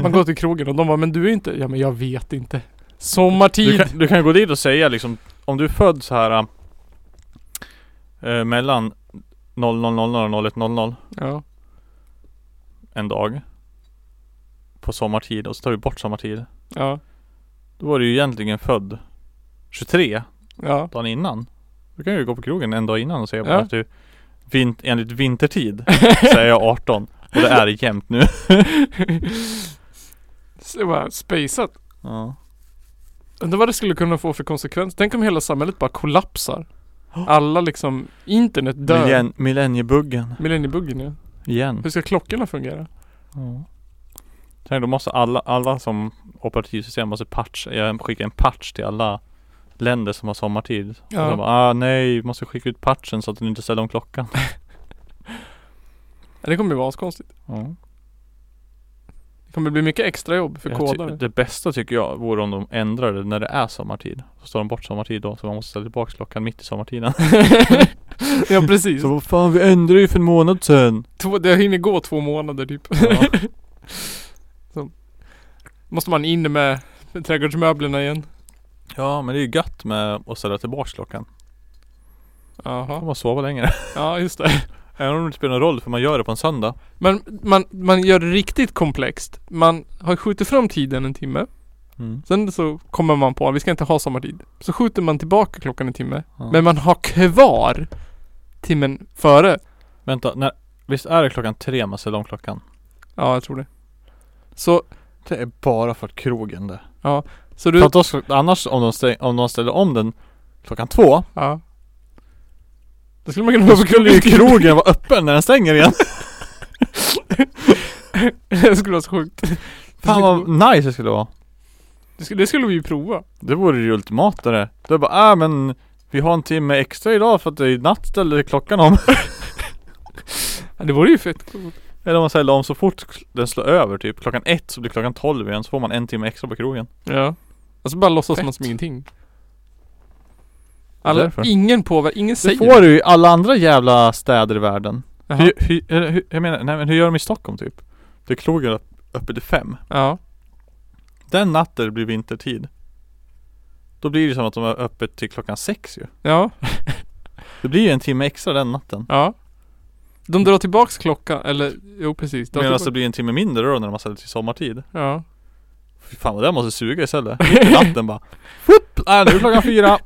Man går till krogen och de bara, men du är inte, ja men jag vet inte. Sommartid.
Du kan, du kan gå dit och säga liksom Om du är född så här eh, Mellan 00.00 och 01.00
Ja.
en dag På sommartid och så tar vi bort sommartid
Ja.
Då var du ju egentligen född 23
Ja.
dagen innan Då kan du ju gå på krogen en dag innan och säga bara
Ja.
att du vin, Enligt vintertid så är jag 18 Och det är det jämt nu
Så det var spejsat.
ja.
Undrar vad det skulle kunna få för konsekvens. Tänk om hela samhället bara kollapsar. Alla liksom, internet dör.
Millenn- Millenniebuggen
Millenniebuggen ja.
igen
Hur ska klockorna fungera?
ja. Tänk då måste alla, alla som operativsystem måste patch, eh, skicka en patch till alla länder som har sommartid Och de bara, ah, nej, vi måste skicka ut patchen så att den inte ställer om klockan.
Ja, Det kommer ju vara askonstigt. Det kommer bli mycket extra jobb för
Jag ty-
kodare.
det bästa tycker jag vore om de ändrar det när det är sommartid. Så står de bort sommartid då, så man måste ställa tillbaka klockan mitt i sommartiden.
ja precis.
Så vad fan, vi ändrade ju för en månad sedan.
Två, det hinner gå två månader typ.
Ja.
Så. Måste man in med, med trädgårdsmöblerna igen.
ja, men det är ju gött med att ställa tillbaka klockan. Då kan
Jaha.
man sova längre.
Ja just det.
Även om det inte spelar någon roll, för man gör det på en söndag.
Men man, man gör det riktigt komplext. Man har skjutit fram tiden en timme.
Mm.
Sen så kommer man på att vi ska inte ha sommartid. Så skjuter man tillbaka klockan en timme.
Ja.
Men man har kvar timmen före.
Vänta, när, visst är det klockan tre man ställer om klockan?
Ja jag tror det. Så,
Det är bara för att krogen det.
så
För
du...
att då, ska- annars om de, stäng, om de ställer om den klockan två,
Ja. Då skulle man kunna
då
vara på
skulle ju
krogen.
krogen vara öppen när den stänger igen.
det skulle vara så sjukt.
Fan vad nice det skulle vara.
Det skulle, det skulle vi ju prova.
Det vore ju ultimata det. Det är bara, äh, men vi har en timme extra idag för att det är natt ställer klockan om.
Ja, det vore ju fett coolt.
Eller om man ställer om så fort den slår över typ klockan ett så blir klockan tolv igen så får man en timme extra på krogen.
Ja. Alltså bara låtsas man
Fett.
som ingenting. Alla,
Därför.
ingen påverkar, ingen
Det
säger
får du ju i alla andra jävla städer i världen.
Jaha.
Hur, hur, eller hur, jag menar, nej men hur gör de i Stockholm typ? Det är krogen öpp- öppet till fem.
Ja.
Den natten det blir vintertid. Då blir det som att de är öppet till klockan sex ju.
Ja.
Det blir ju en timme extra den natten.
Ja. De drar tillbaks klockan, eller jo precis. Drar
Medan det
tillbaka-
blir en timme mindre då när man ställer till sommartid.
Ja.
Fy fan vad det måste suga istället. Mitt i natten bara. Whoop! Nej nu är klockan fyra.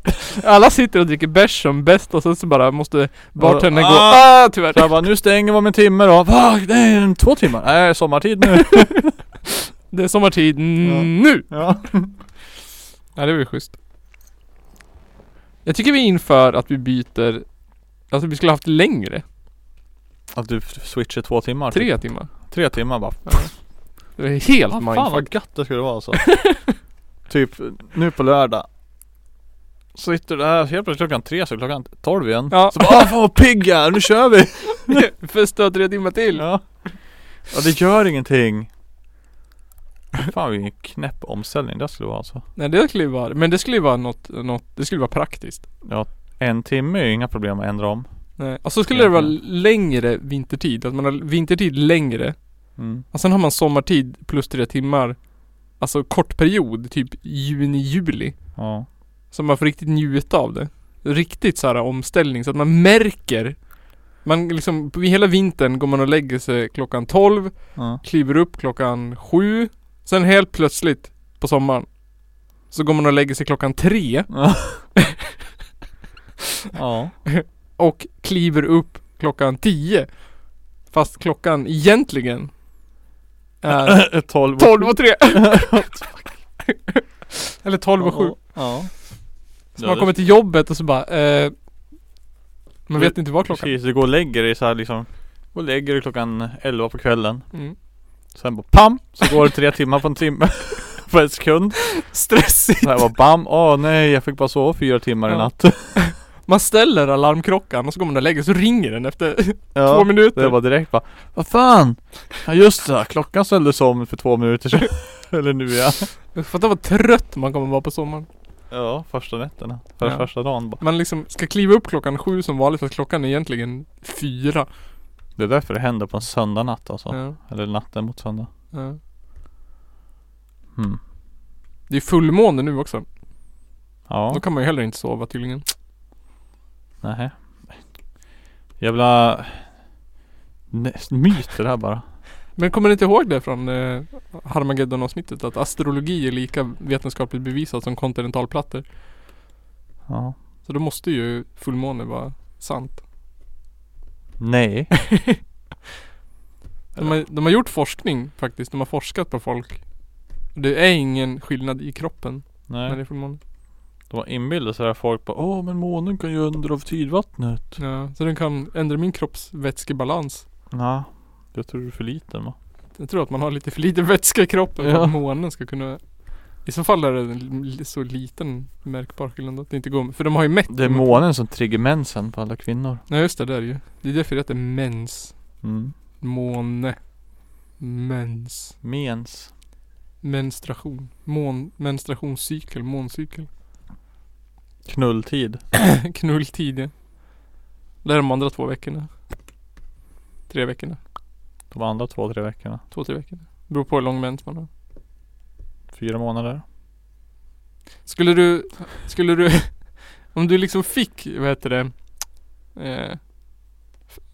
Alla sitter och dricker bärs som bäst och sen så bara måste bartendern gå
Ah!
ah, tyvärr.
Så jag bara, nu stänger vi om en timme då. Va? Nej, en- två timmar. Nej, sommartid nu.
Det är sommartid
Ja.
nu!
Ja.
Ja det var ju schysst. Jag tycker vi inför att vi byter Alltså vi skulle haft längre.
Att du f- switchar två timmar.
Tre timmar.
Tre timmar bara.
Det är helt
Fan, fan
mindfuck.
vad gött det skulle vara alltså. typ nu på lördag. Sitter du där, helt plötsligt klockan tre så är klockan tolv igen.
Ja.
Så bara, ah, fan vad pigg jag är, nu kör vi!
Fest du har tre timmar till.
Ja. ja, det gör ingenting. Fan vilken knäpp omställning det skulle vara alltså.
Nej det skulle ju vara, men det skulle ju vara något, något, det skulle vara praktiskt.
En timme är ju inga problem att ändra om.
Nej. Och så skulle det vara längre vintertid, att man har vintertid längre.
Mm.
Och sen har man sommartid plus tre timmar. Alltså kort period, typ juni, juli.
Ja.
Så man får riktigt njuta av det. Riktigt så här omställning så att man märker. Man liksom, hela vintern går man och lägger sig klockan 12
ja.
kliver upp klockan sju. Sen helt plötsligt på sommaren så går man och lägger sig klockan tre
Ja. ja.
och kliver upp klockan tio. Fast klockan egentligen är
12
tolv och tre. Eller tolv och sju.
Ja.
Så man kommer till jobbet och så bara eh, man vet inte vad klockan är.
Precis, du går och lägger dig så här liksom. Går och lägger dig klockan 11 på kvällen.
Mm.
Sen bara PAM! Så går det tre timmar på en timme. på en sekund.
Stressigt.
Så här bara BAM! Åh nej, jag fick bara sova fyra timmar i
Ja.
natt.
Man ställer alarmklockan och så går man och lägger sig så ringer den efter
Ja.
två minuter.
Det var direkt bara Vad fan! Ja just det, klockan ställdes om för två minuter sedan Eller nu ja
Fatta vad trött man kommer vara på sommaren.
Ja, första nätterna För
Ja.
första dagen bara
Man liksom ska kliva upp klockan sju som vanligt fast klockan är egentligen fyra.
Det är därför det händer på en söndagnatt alltså
Ja,
Eller natten mot söndag
ja.
hmm.
Det är fullmåne nu också.
Ja,
Då kan man ju heller inte sova tydligen.
nähä Jävla Nej, myter det här bara
Men kommer ni inte ihåg det från eh, Harmageddon avsnittet? Att astrologi är lika vetenskapligt bevisat som kontinentalplattor.
Ja
Så då måste ju fullmåne vara sant.
Nej
De har, de har gjort forskning faktiskt. De har forskat på folk. Det är ingen skillnad i kroppen när det
Nej
är fullmåne.
De har inbillat sig där folk bara Åh men månen kan ju ändra av tidvattnet
Ja, så den kan ändra min kropps vätskebalans.
Ja Jag tror du är för liten va?
Jag tror att man har lite för lite vätska i kroppen för
Ja.
att månen ska kunna I så fall är det en li- så liten märkbar skillnad att det inte går För de har ju mätt
Det är månen som triggar mensen på alla kvinnor
Nej just det, det är det ju Det är därför det heter mens
mm.
Måne Mens
Mens
Menstruation Mån Menstruationscykel Måncykel
Knulltid.
Knulltid ja. Det är de andra två veckorna Tre veckorna
De andra två, tre veckorna.
Två, tre veckorna Beror på hur lång mens man har
Fyra månader.
Skulle du, skulle du, om du liksom fick, vad heter det, eh,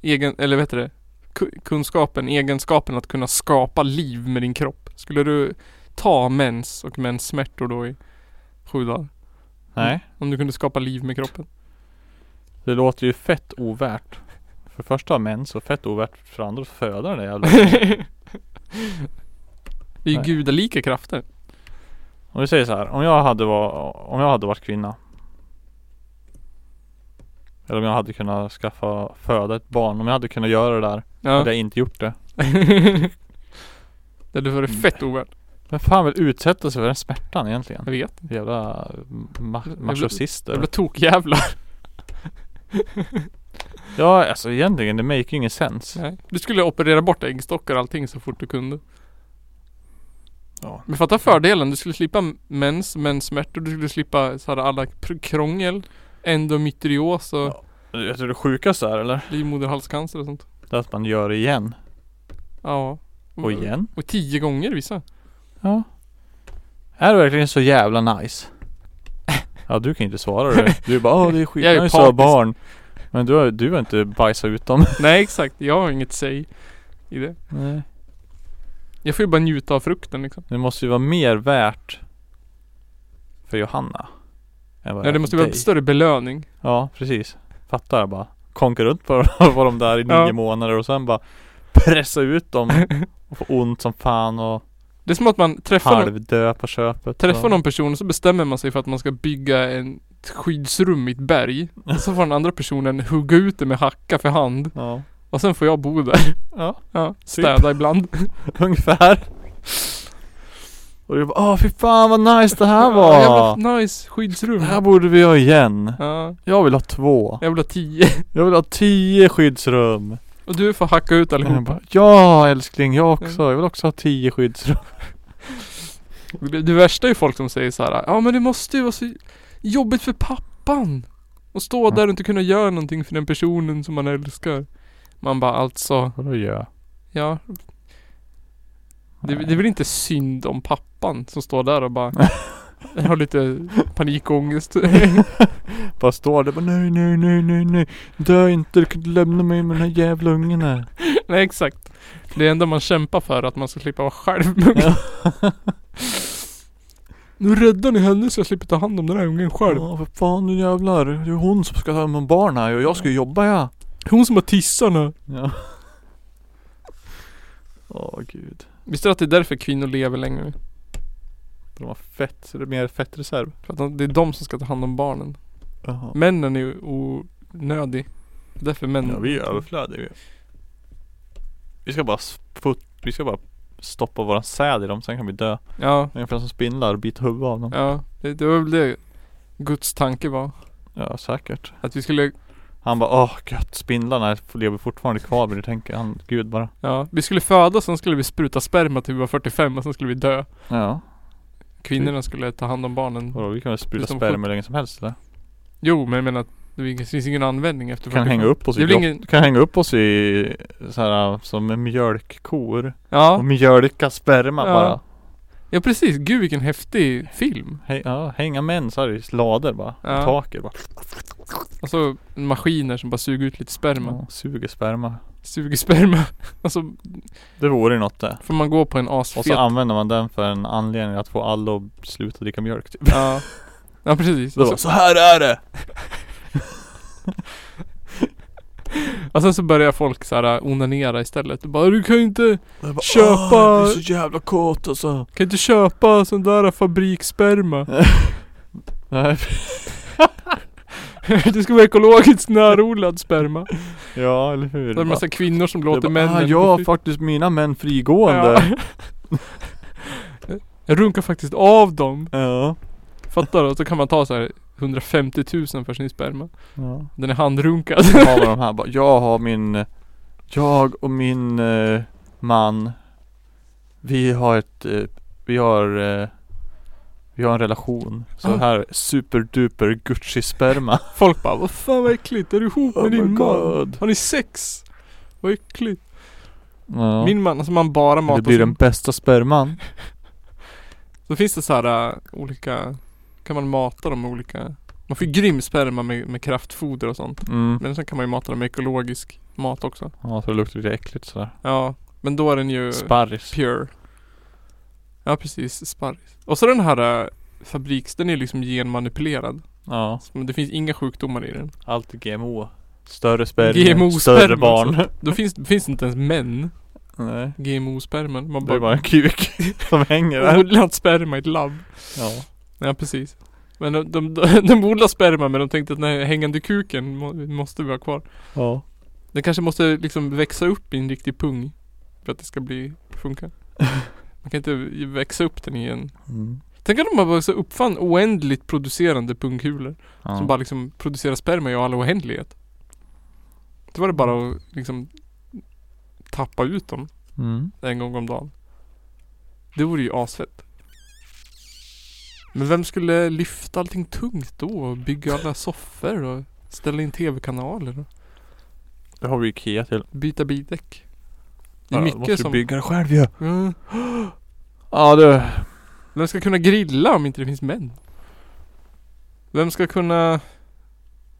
egen, eller vad heter det, ku- kunskapen, egenskapen att kunna skapa liv med din kropp. Skulle du ta mens och menssmärtor då i sju dagar?
Nej.
Om du kunde skapa liv med kroppen?
Det låter ju fett ovärt. För första mens och fett ovärt för andra att föda den där jävla.
Det är ju
Nej.
gudalika krafter.
Om vi säger så här. Om jag hade var, om jag hade varit kvinna. Eller om jag hade kunnat skaffa, föda ett barn. Om jag hade kunnat göra det där. Hade
Ja.
jag inte gjort det.
det hade varit fett ovärt.
Vem fan vill utsätta sig för den smärtan egentligen?
Jag vet.
Jävla ma-
Jag
machochister.
blev tokjävlar.
Ja alltså egentligen det make ju ingen sense.
Nej. Du skulle operera bort äggstockar och allting så fort du kunde.
Ja.
Men fatta fördelen, du skulle slippa mens, menssmärtor, du skulle slippa så här alla pr- krångel, endometrios och
Ja. Jag tror det sjukaste är eller?
livmoderhalscancer och sånt.
Det är att man gör det igen.
Ja.
Och
Mm.
igen.
Och tio gånger vissa.
Ja. Är det verkligen så jävla nice? Ja du kan ju inte svara det. Du är bara åh det är
Jag är
skitnice att ha
partisk."
barn. Men du har, du har inte bajsat ut dem.
Nej exakt, jag har inget säg i det.
Nej.
Jag får ju bara njuta av frukten liksom.
Det måste ju vara mer värt för Johanna. Än vad
Nej det
är
måste
för
vara en
dig.
större belöning.
Ja precis. Fattar jag bara. Konka runt på, på de där i nio
Ja.
månader och sen bara pressa ut dem och få ont som fan och
Det är som att man träffar, någon,
halvdö på köpet.
träffar
och,
någon person och så bestämmer man sig för att man ska bygga en ett skyddsrum i ett berg. Och så får den andra personen hugga ut det med hacka för hand.
Ja.
Och sen får jag bo där.
ja.
Ja, städa ibland.
Ungefär. Och du bara åh fy fan vad nice det här
Ja,
var!
jävla nice skyddsrum.
Det här borde vi ha igen.
Ja,
Jag vill ha två.
jag vill ha tio.
Jag vill ha tio skyddsrum.
Och du får hacka ut
Men jag
allihopa.
bara, ja älskling, jag också. Jag vill också ha tio skyddsrum.
Det, det värsta är ju folk som säger så här. Ja men det måste ju vara så jobbigt för pappan. Att stå där och inte kunna göra någonting för den personen som man älskar. Man bara alltså,
Vadå gör
ja. Det, det är väl inte synd om pappan som står där och bara har lite panikångest.
Bara står där och bara nej, nej, nej, nej, nej. Dö inte, du kan inte lämna mig med den här jävla ungen här.
Nej exakt. Det är enda man kämpar för att man ska slippa vara själv.
Ja.
nu räddar ni henne så jag slipper ta hand om den här ungen själv.
Ja, för fan du jävlar. Det är hon som ska ta hand om barn här och jag ska ju jobba ja.
Hon som har tissarna.
Ja. Åh gud.
Visste du att det är därför kvinnor lever längre?
De har fett, mer fettreserv.
För att de- det är de som ska ta hand om barnen.
Jaha.
Männen är ju onödig. Det är Därför män...
Ja, vi är överflödiga vi. Vi ska bara s- fot, vi ska bara stoppa våran säd i dem, sen kan vi dö.
Ja,
Ungefär som spindlar, och bita huvudet av dem. Ja,
ja. Det, det var väl det Guds tanke var.
säkert.
Att vi skulle,
Han bara åh gött, spindlarna lever fortfarande kvar men det tänker han, gud bara.
ja. Vi skulle födas, sen skulle vi spruta sperma till vi var 45 och sen skulle vi dö.
Ja,
Kvinnorna skulle ta hand om barnen.
vadå vi kan väl spruta
Utom
sperma hur länge som helst eller?
Jo, men jag menar att det finns ingen användning efter
Du kan hänga upp oss
Det
i
blir
grott,
ingen-
du kan hänga upp oss i så här som mjölkkor.
Ja,
Och mjölka sperma
Ja.
bara.
ja precis. Gud vilken häftig film.
Häng, ja, hänga män så här i lader bara.
Ja.
I taket bara.
Alltså maskiner som bara suger ut lite sperma.
Ja, suger sperma.
Suger sperma. Alltså
Det vore ju något det.
får man gå på en
Och så
asfet.
använder man den för en anledning att få alla att sluta dricka mjölk typ.
Ja. ja, precis.
Så,
Och,
bara,
så,
så här är det!
och sen så börjar folk så här äh, onanera istället. Och bara, du kan ju inte,
Jag bara,
Köpa-
"Åh, jag blir så jävla kåt alltså.
kan inte köpa sån där fabrikssperma.
Nej.
det ska vara ekologiskt närodlad sperma.
Ja eller hur.
Det är en massa kvinnor som låter
bara,
männen...
ah, jag har faktiskt mina män frigående.
Jag runkar faktiskt av dem.
Ja. ja.
Fattar du? Och så kan man ta så här 150 000 för sin sperma. Den är handrunkad.
Så har man de här bara, jag har min, jag och min eh, man. Vi har ett, eh, vi har, eh, vi har en relation. Så
Ah.
här superduper gucci sperma.
Folk bara, vad fan vad äckligt. Är du ihop med
Oh my
din man?
god.
Har ni sex? Vad äckligt.
Ja.
Min man, alltså man bara matar
det blir
sig-
den bästa sperman.
Så finns det så här äh, olika, kan man mata dem med olika Man får ju grym sperma med, med kraftfoder och sånt
Mm.
Men sen kan man ju mata dem med ekologisk mat också
Ja, så det luktar lite äckligt sådär.
Ja, men då är den ju
Sparris.
pure Ja precis, sparris Och så den här äh, fabriks, den är liksom genmanipulerad
Ja,
Så Det finns inga sjukdomar i den
allt är GMO. Större sperma,
GMO -sperma
större barn.
Då finns, det finns inte ens män
Nej.
GMO-sperman Man
Det
bara
är bara en kuk som hänger där.
odlat sperma i ett labb
Ja.
Ja precis Men de, de, de, de odlar sperma men de tänkte att den här hängande kuken må, måste vi ha kvar
ja.
Den kanske måste liksom växa upp i en riktig pung för att det ska bli funka. Man kan inte växa upp den i en...
Mm.
Tänk om man bara så uppfann oändligt producerande pungkulor
ja.
som bara liksom producerar sperma i all oändlighet. Då var det bara att liksom tappa ut dem
Mm.
en gång om dagen. Det vore ju asfett. Men vem skulle lyfta allting tungt då? Och bygga alla soffor och ställa in tv-kanaler och
Det har vi Ikea till.
byta bildäck? Det
Ja,
är
måste
mycket
du
som...
bygga det själv ju.
Mm.
Ja du.
Vem ska kunna grilla om inte det finns män? Vem ska kunna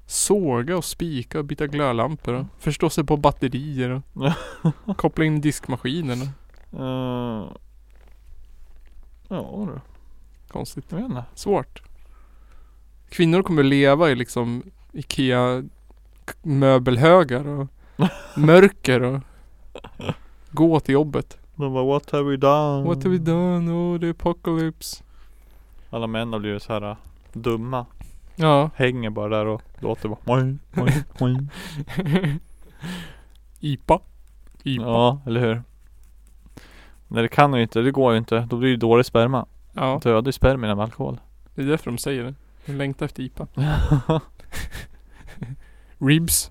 såga och spika och byta glödlampor och förstå sig på batterier och koppla in diskmaskinen och
Uh, ja du.
konstigt.
Jag vet inte.
Svårt. Kvinnor kommer leva i liksom Ikea k- möbelhögar och mörker och gå till jobbet.
De bara what have we done?
What have we done? Oh the apocalypse.
Alla män har blivit så här uh, dumma.
Ja.
Hänger bara där och låter bara. Moing, moing, moing.
IPA. IPA.
ja eller hur. Nej det kan ju inte. Det går ju inte. Då blir det ju dålig sperma.
ja.
Dödlig spermierna med alkohol.
Det är därför de säger det. De längtar efter IPA. Ribs.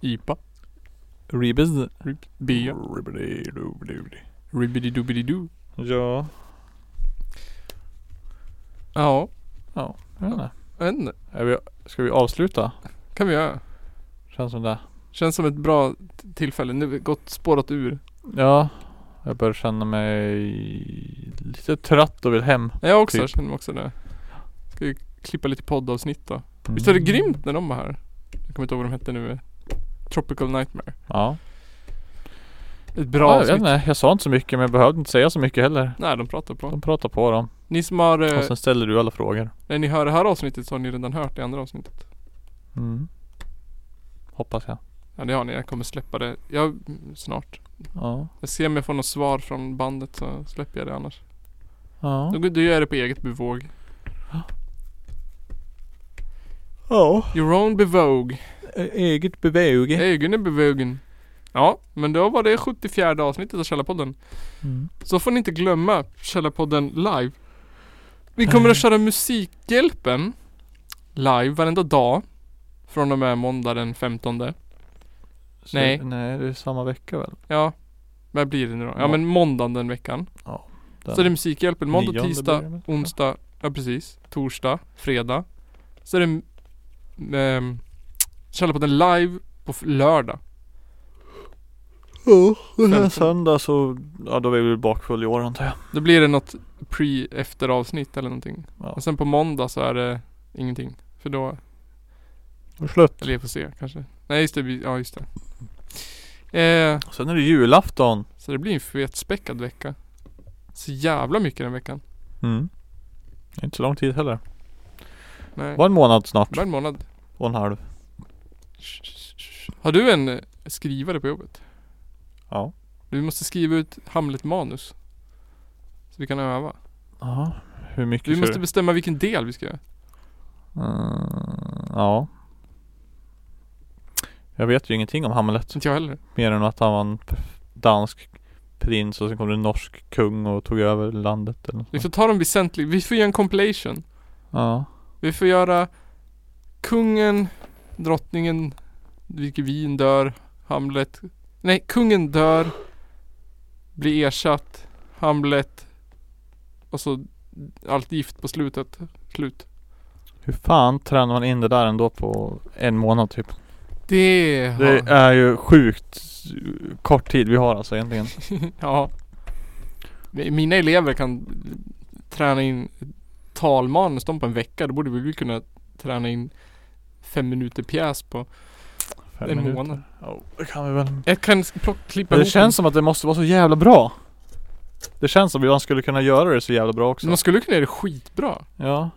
IPA.
Rebus.
Rib- Bya. Ribbidi-doobidi-doo.
Ja,
Ja,
jag vet inte.
jag vet inte.
Är vi, ska vi avsluta?
kan vi göra.
Känns som det.
Känns som ett bra t- tillfälle. Nu har vi gått spårat ur.
Ja, jag börjar känna mig lite trött och vill hem.
Jag också,
Typ.
jag känner mig också det. Ska ju klippa lite poddavsnitt
Mm.
då. Visst var det grymt när de var här? Jag kommer inte ihåg vad de hette nu. Tropical Nightmare.
Ja.
Ett
ja
bra
jag, vet
avsnitt.
inte, jag sa inte så mycket men jag behövde inte säga så mycket heller.
Nej, de pratar på.
De pratar på dem.
Ni som har, eh,
Och sen ställer du alla frågor.
när ni hör det här avsnittet så har ni redan hört det andra avsnittet.
Mm. Hoppas jag.
Ja det har ni, jag kommer släppa det. Ja, mm, snart.
Ja.
Jag ser om jag får något svar från bandet så släpper jag det annars.
Ja.
Då, då gör jag det på eget bevåg.
Ja.
Your own bevåg.
Eget bevåg.
Egen är bevågen. Ja, men då var det 74 avsnittet av Källarpodden.
Mm.
Så får ni inte glömma Källarpodden live. Vi kommer att köra Musikhjälpen live varenda dag. Från och med måndag den 15.
Så,
Nej.
Nej, det är samma vecka väl?
Ja, vad blir det nu då? Ja,
Ja.
men måndagen den veckan.
Den
Så är det Musikhjälpen måndag,
nionde
tisdag,
börjar med. Ja.
onsdag, ja precis, torsdag, fredag. Så är det ehm, Källarpodden live på f- lördag.
Ja, den här
Femton.
söndag så, ja då är vi väl bakfull i år antar jag.
Då blir det något pre-efter avsnitt eller någonting.
Ja.
Och sen på måndag så är det ingenting. För då,
Och slut.
eller jag får se kanske. Nej just det, vi- ja just det. Eh,
Sen är det julafton.
så det blir en fetspäckad vecka. Så jävla mycket den veckan.
Mm. Det är Inte så lång tid heller.
Nej,
Var en månad snart.
bara en månad.
Och en halv.
Har du en eh, skrivare på jobbet?
Ja.
Du måste skriva ut Hamlet-manus. Så vi kan öva.
Ja. Hur mycket
Vi
ska
måste
du?
bestämma vilken del vi ska göra.
Mm, ja. Jag vet ju ingenting om Hamlet.
Inte jag heller.
Mer än att han var en p- dansk prins och sen kom det en norsk kung och tog över landet eller något
Vi
sånt.
får ta dem väsentligt. Vi får göra en compilation.
Ja.
Vi får göra Kungen, Drottningen, Vilken vin dör, Hamlet. Nej, Kungen dör. Blir ersatt. Hamlet. Och så allt gift på slutet. Slut.
Hur fan tränar man in det där ändå på en månad typ?
Det... har-
Det är ju sjukt eh, kort tid vi har alltså egentligen.
Ja. Mina elever kan träna in talmanus de på en vecka. Då borde vi kunna träna in fem minuter pjäs på
Fem
en
minuter.
månad.
Ja, det kan vi väl.
Jag kan plock, klippa
Men det
ihop
känns som att det måste vara så jävla bra. Det känns som att man skulle kunna göra det så jävla bra
en-
också.
Man skulle kunna göra det skitbra.
Ja.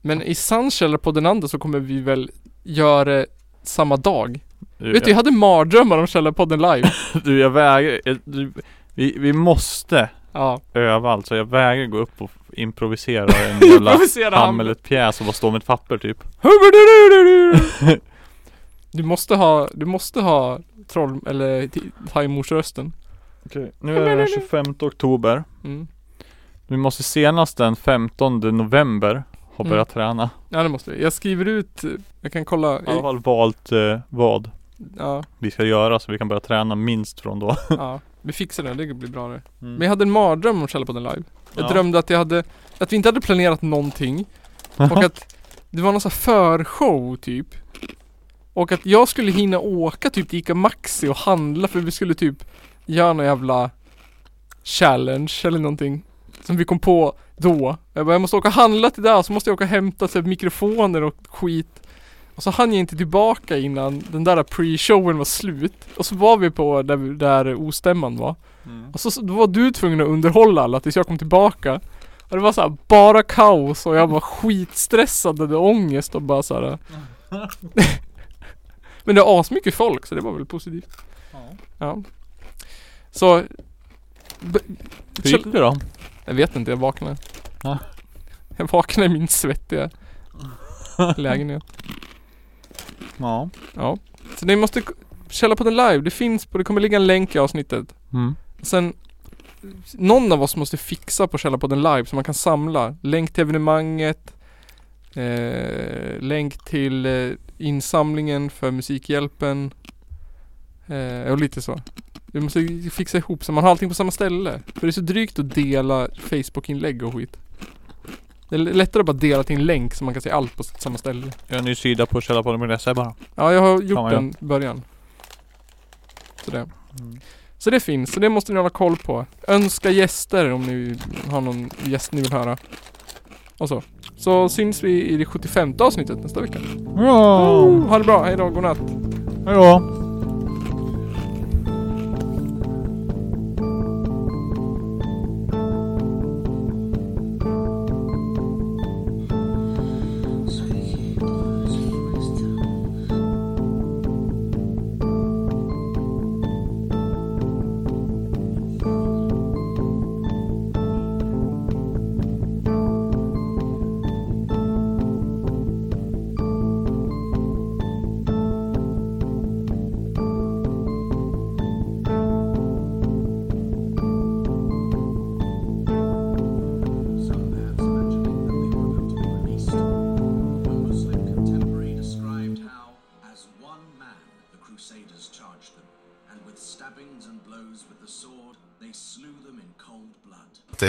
Men i sann källa på den andra så kommer vi väl göra det samma dag. Vet du, jag hade mardrömmar om Källarpodden live.
Du jag vägrar, jag- du, vi, vi måste
Ja.
öva alltså, jag vägrar gå upp och improvisera en jävla
Improvisera Hamlet.
Hamlet-pjäs och bara stå med ett papper typ
Du måste ha, du måste ha troll, eller ti- thaiemors-rösten.
Okej, nu är det den 25 oktober
Mm.
Vi måste senast den 15 november ha
Mm.
börjat träna
Ja det måste vi. Jag skriver ut, eh, jag kan kolla.
I alla fall valt eh, vad
Ja.
vi ska göra så vi kan börja träna minst från då
Ja, vi fixar det, det blir bra det. Men jag hade en mardröm om Källarpodden live. Jag
Mm. Ja.
drömde att jag hade, att vi inte hade planerat någonting och att det var någon sån här förshow typ. Och att jag skulle hinna åka typ till Ica Maxi och handla för vi skulle typ göra någon jävla challenge eller någonting. Som vi kom på då. Jag bara, jag måste åka och handla till det här, så måste jag åka och hämta typ, mikrofoner och skit. Och så hann jag inte tillbaka innan den där pre-showen var slut. Och så var vi på där, vi- där ostämman var.
Mm.
Och så, så då var du tvungen att underhålla alla tills jag kom tillbaka. Och det var så här, bara kaos och jag var skitstressad och hade ångest och bara så här. Men det var asmycket folk så det var väl positivt. Ja. Så... B-
Hur gick det då?
jag vet inte, jag vaknade.
Ja.
Jag vaknade i min svettiga lägenhet.
Ja
Ja. Så ni måste k- källa på den live. Det finns på, det kommer ligga en länk i avsnittet.
mm.
Sen, någon av oss måste fixa på källa på den live så man kan samla. Länk till evenemanget. Eh, länk till eh, insamlingen för Musikhjälpen. Eh, och lite så. Vi måste ju fixa ihop så man har allting på samma ställe. För det är så drygt att dela Facebook-inlägg och skit. Det är l- lättare att bara dela till en länk så man kan se allt på s- samma ställe.
Gör en ny sida på källarpodden.se bara.
Ja, jag har
Ja,
gjort
men
den i början. Så det. Så det finns, så det måste ni hålla koll på. Önska gäster om ni har någon gäst ni vill höra. Och så. Så syns vi i det 75 avsnittet nästa vecka.
Ja,
Ha det bra, hejdå, godnatt.
hejdå.
Some bands mentioning that they were going to be released. One Muslim contemporary described how, as one man, the Crusaders charged them, and with stabbings and blows with the sword, they slew them in cold blood.
Det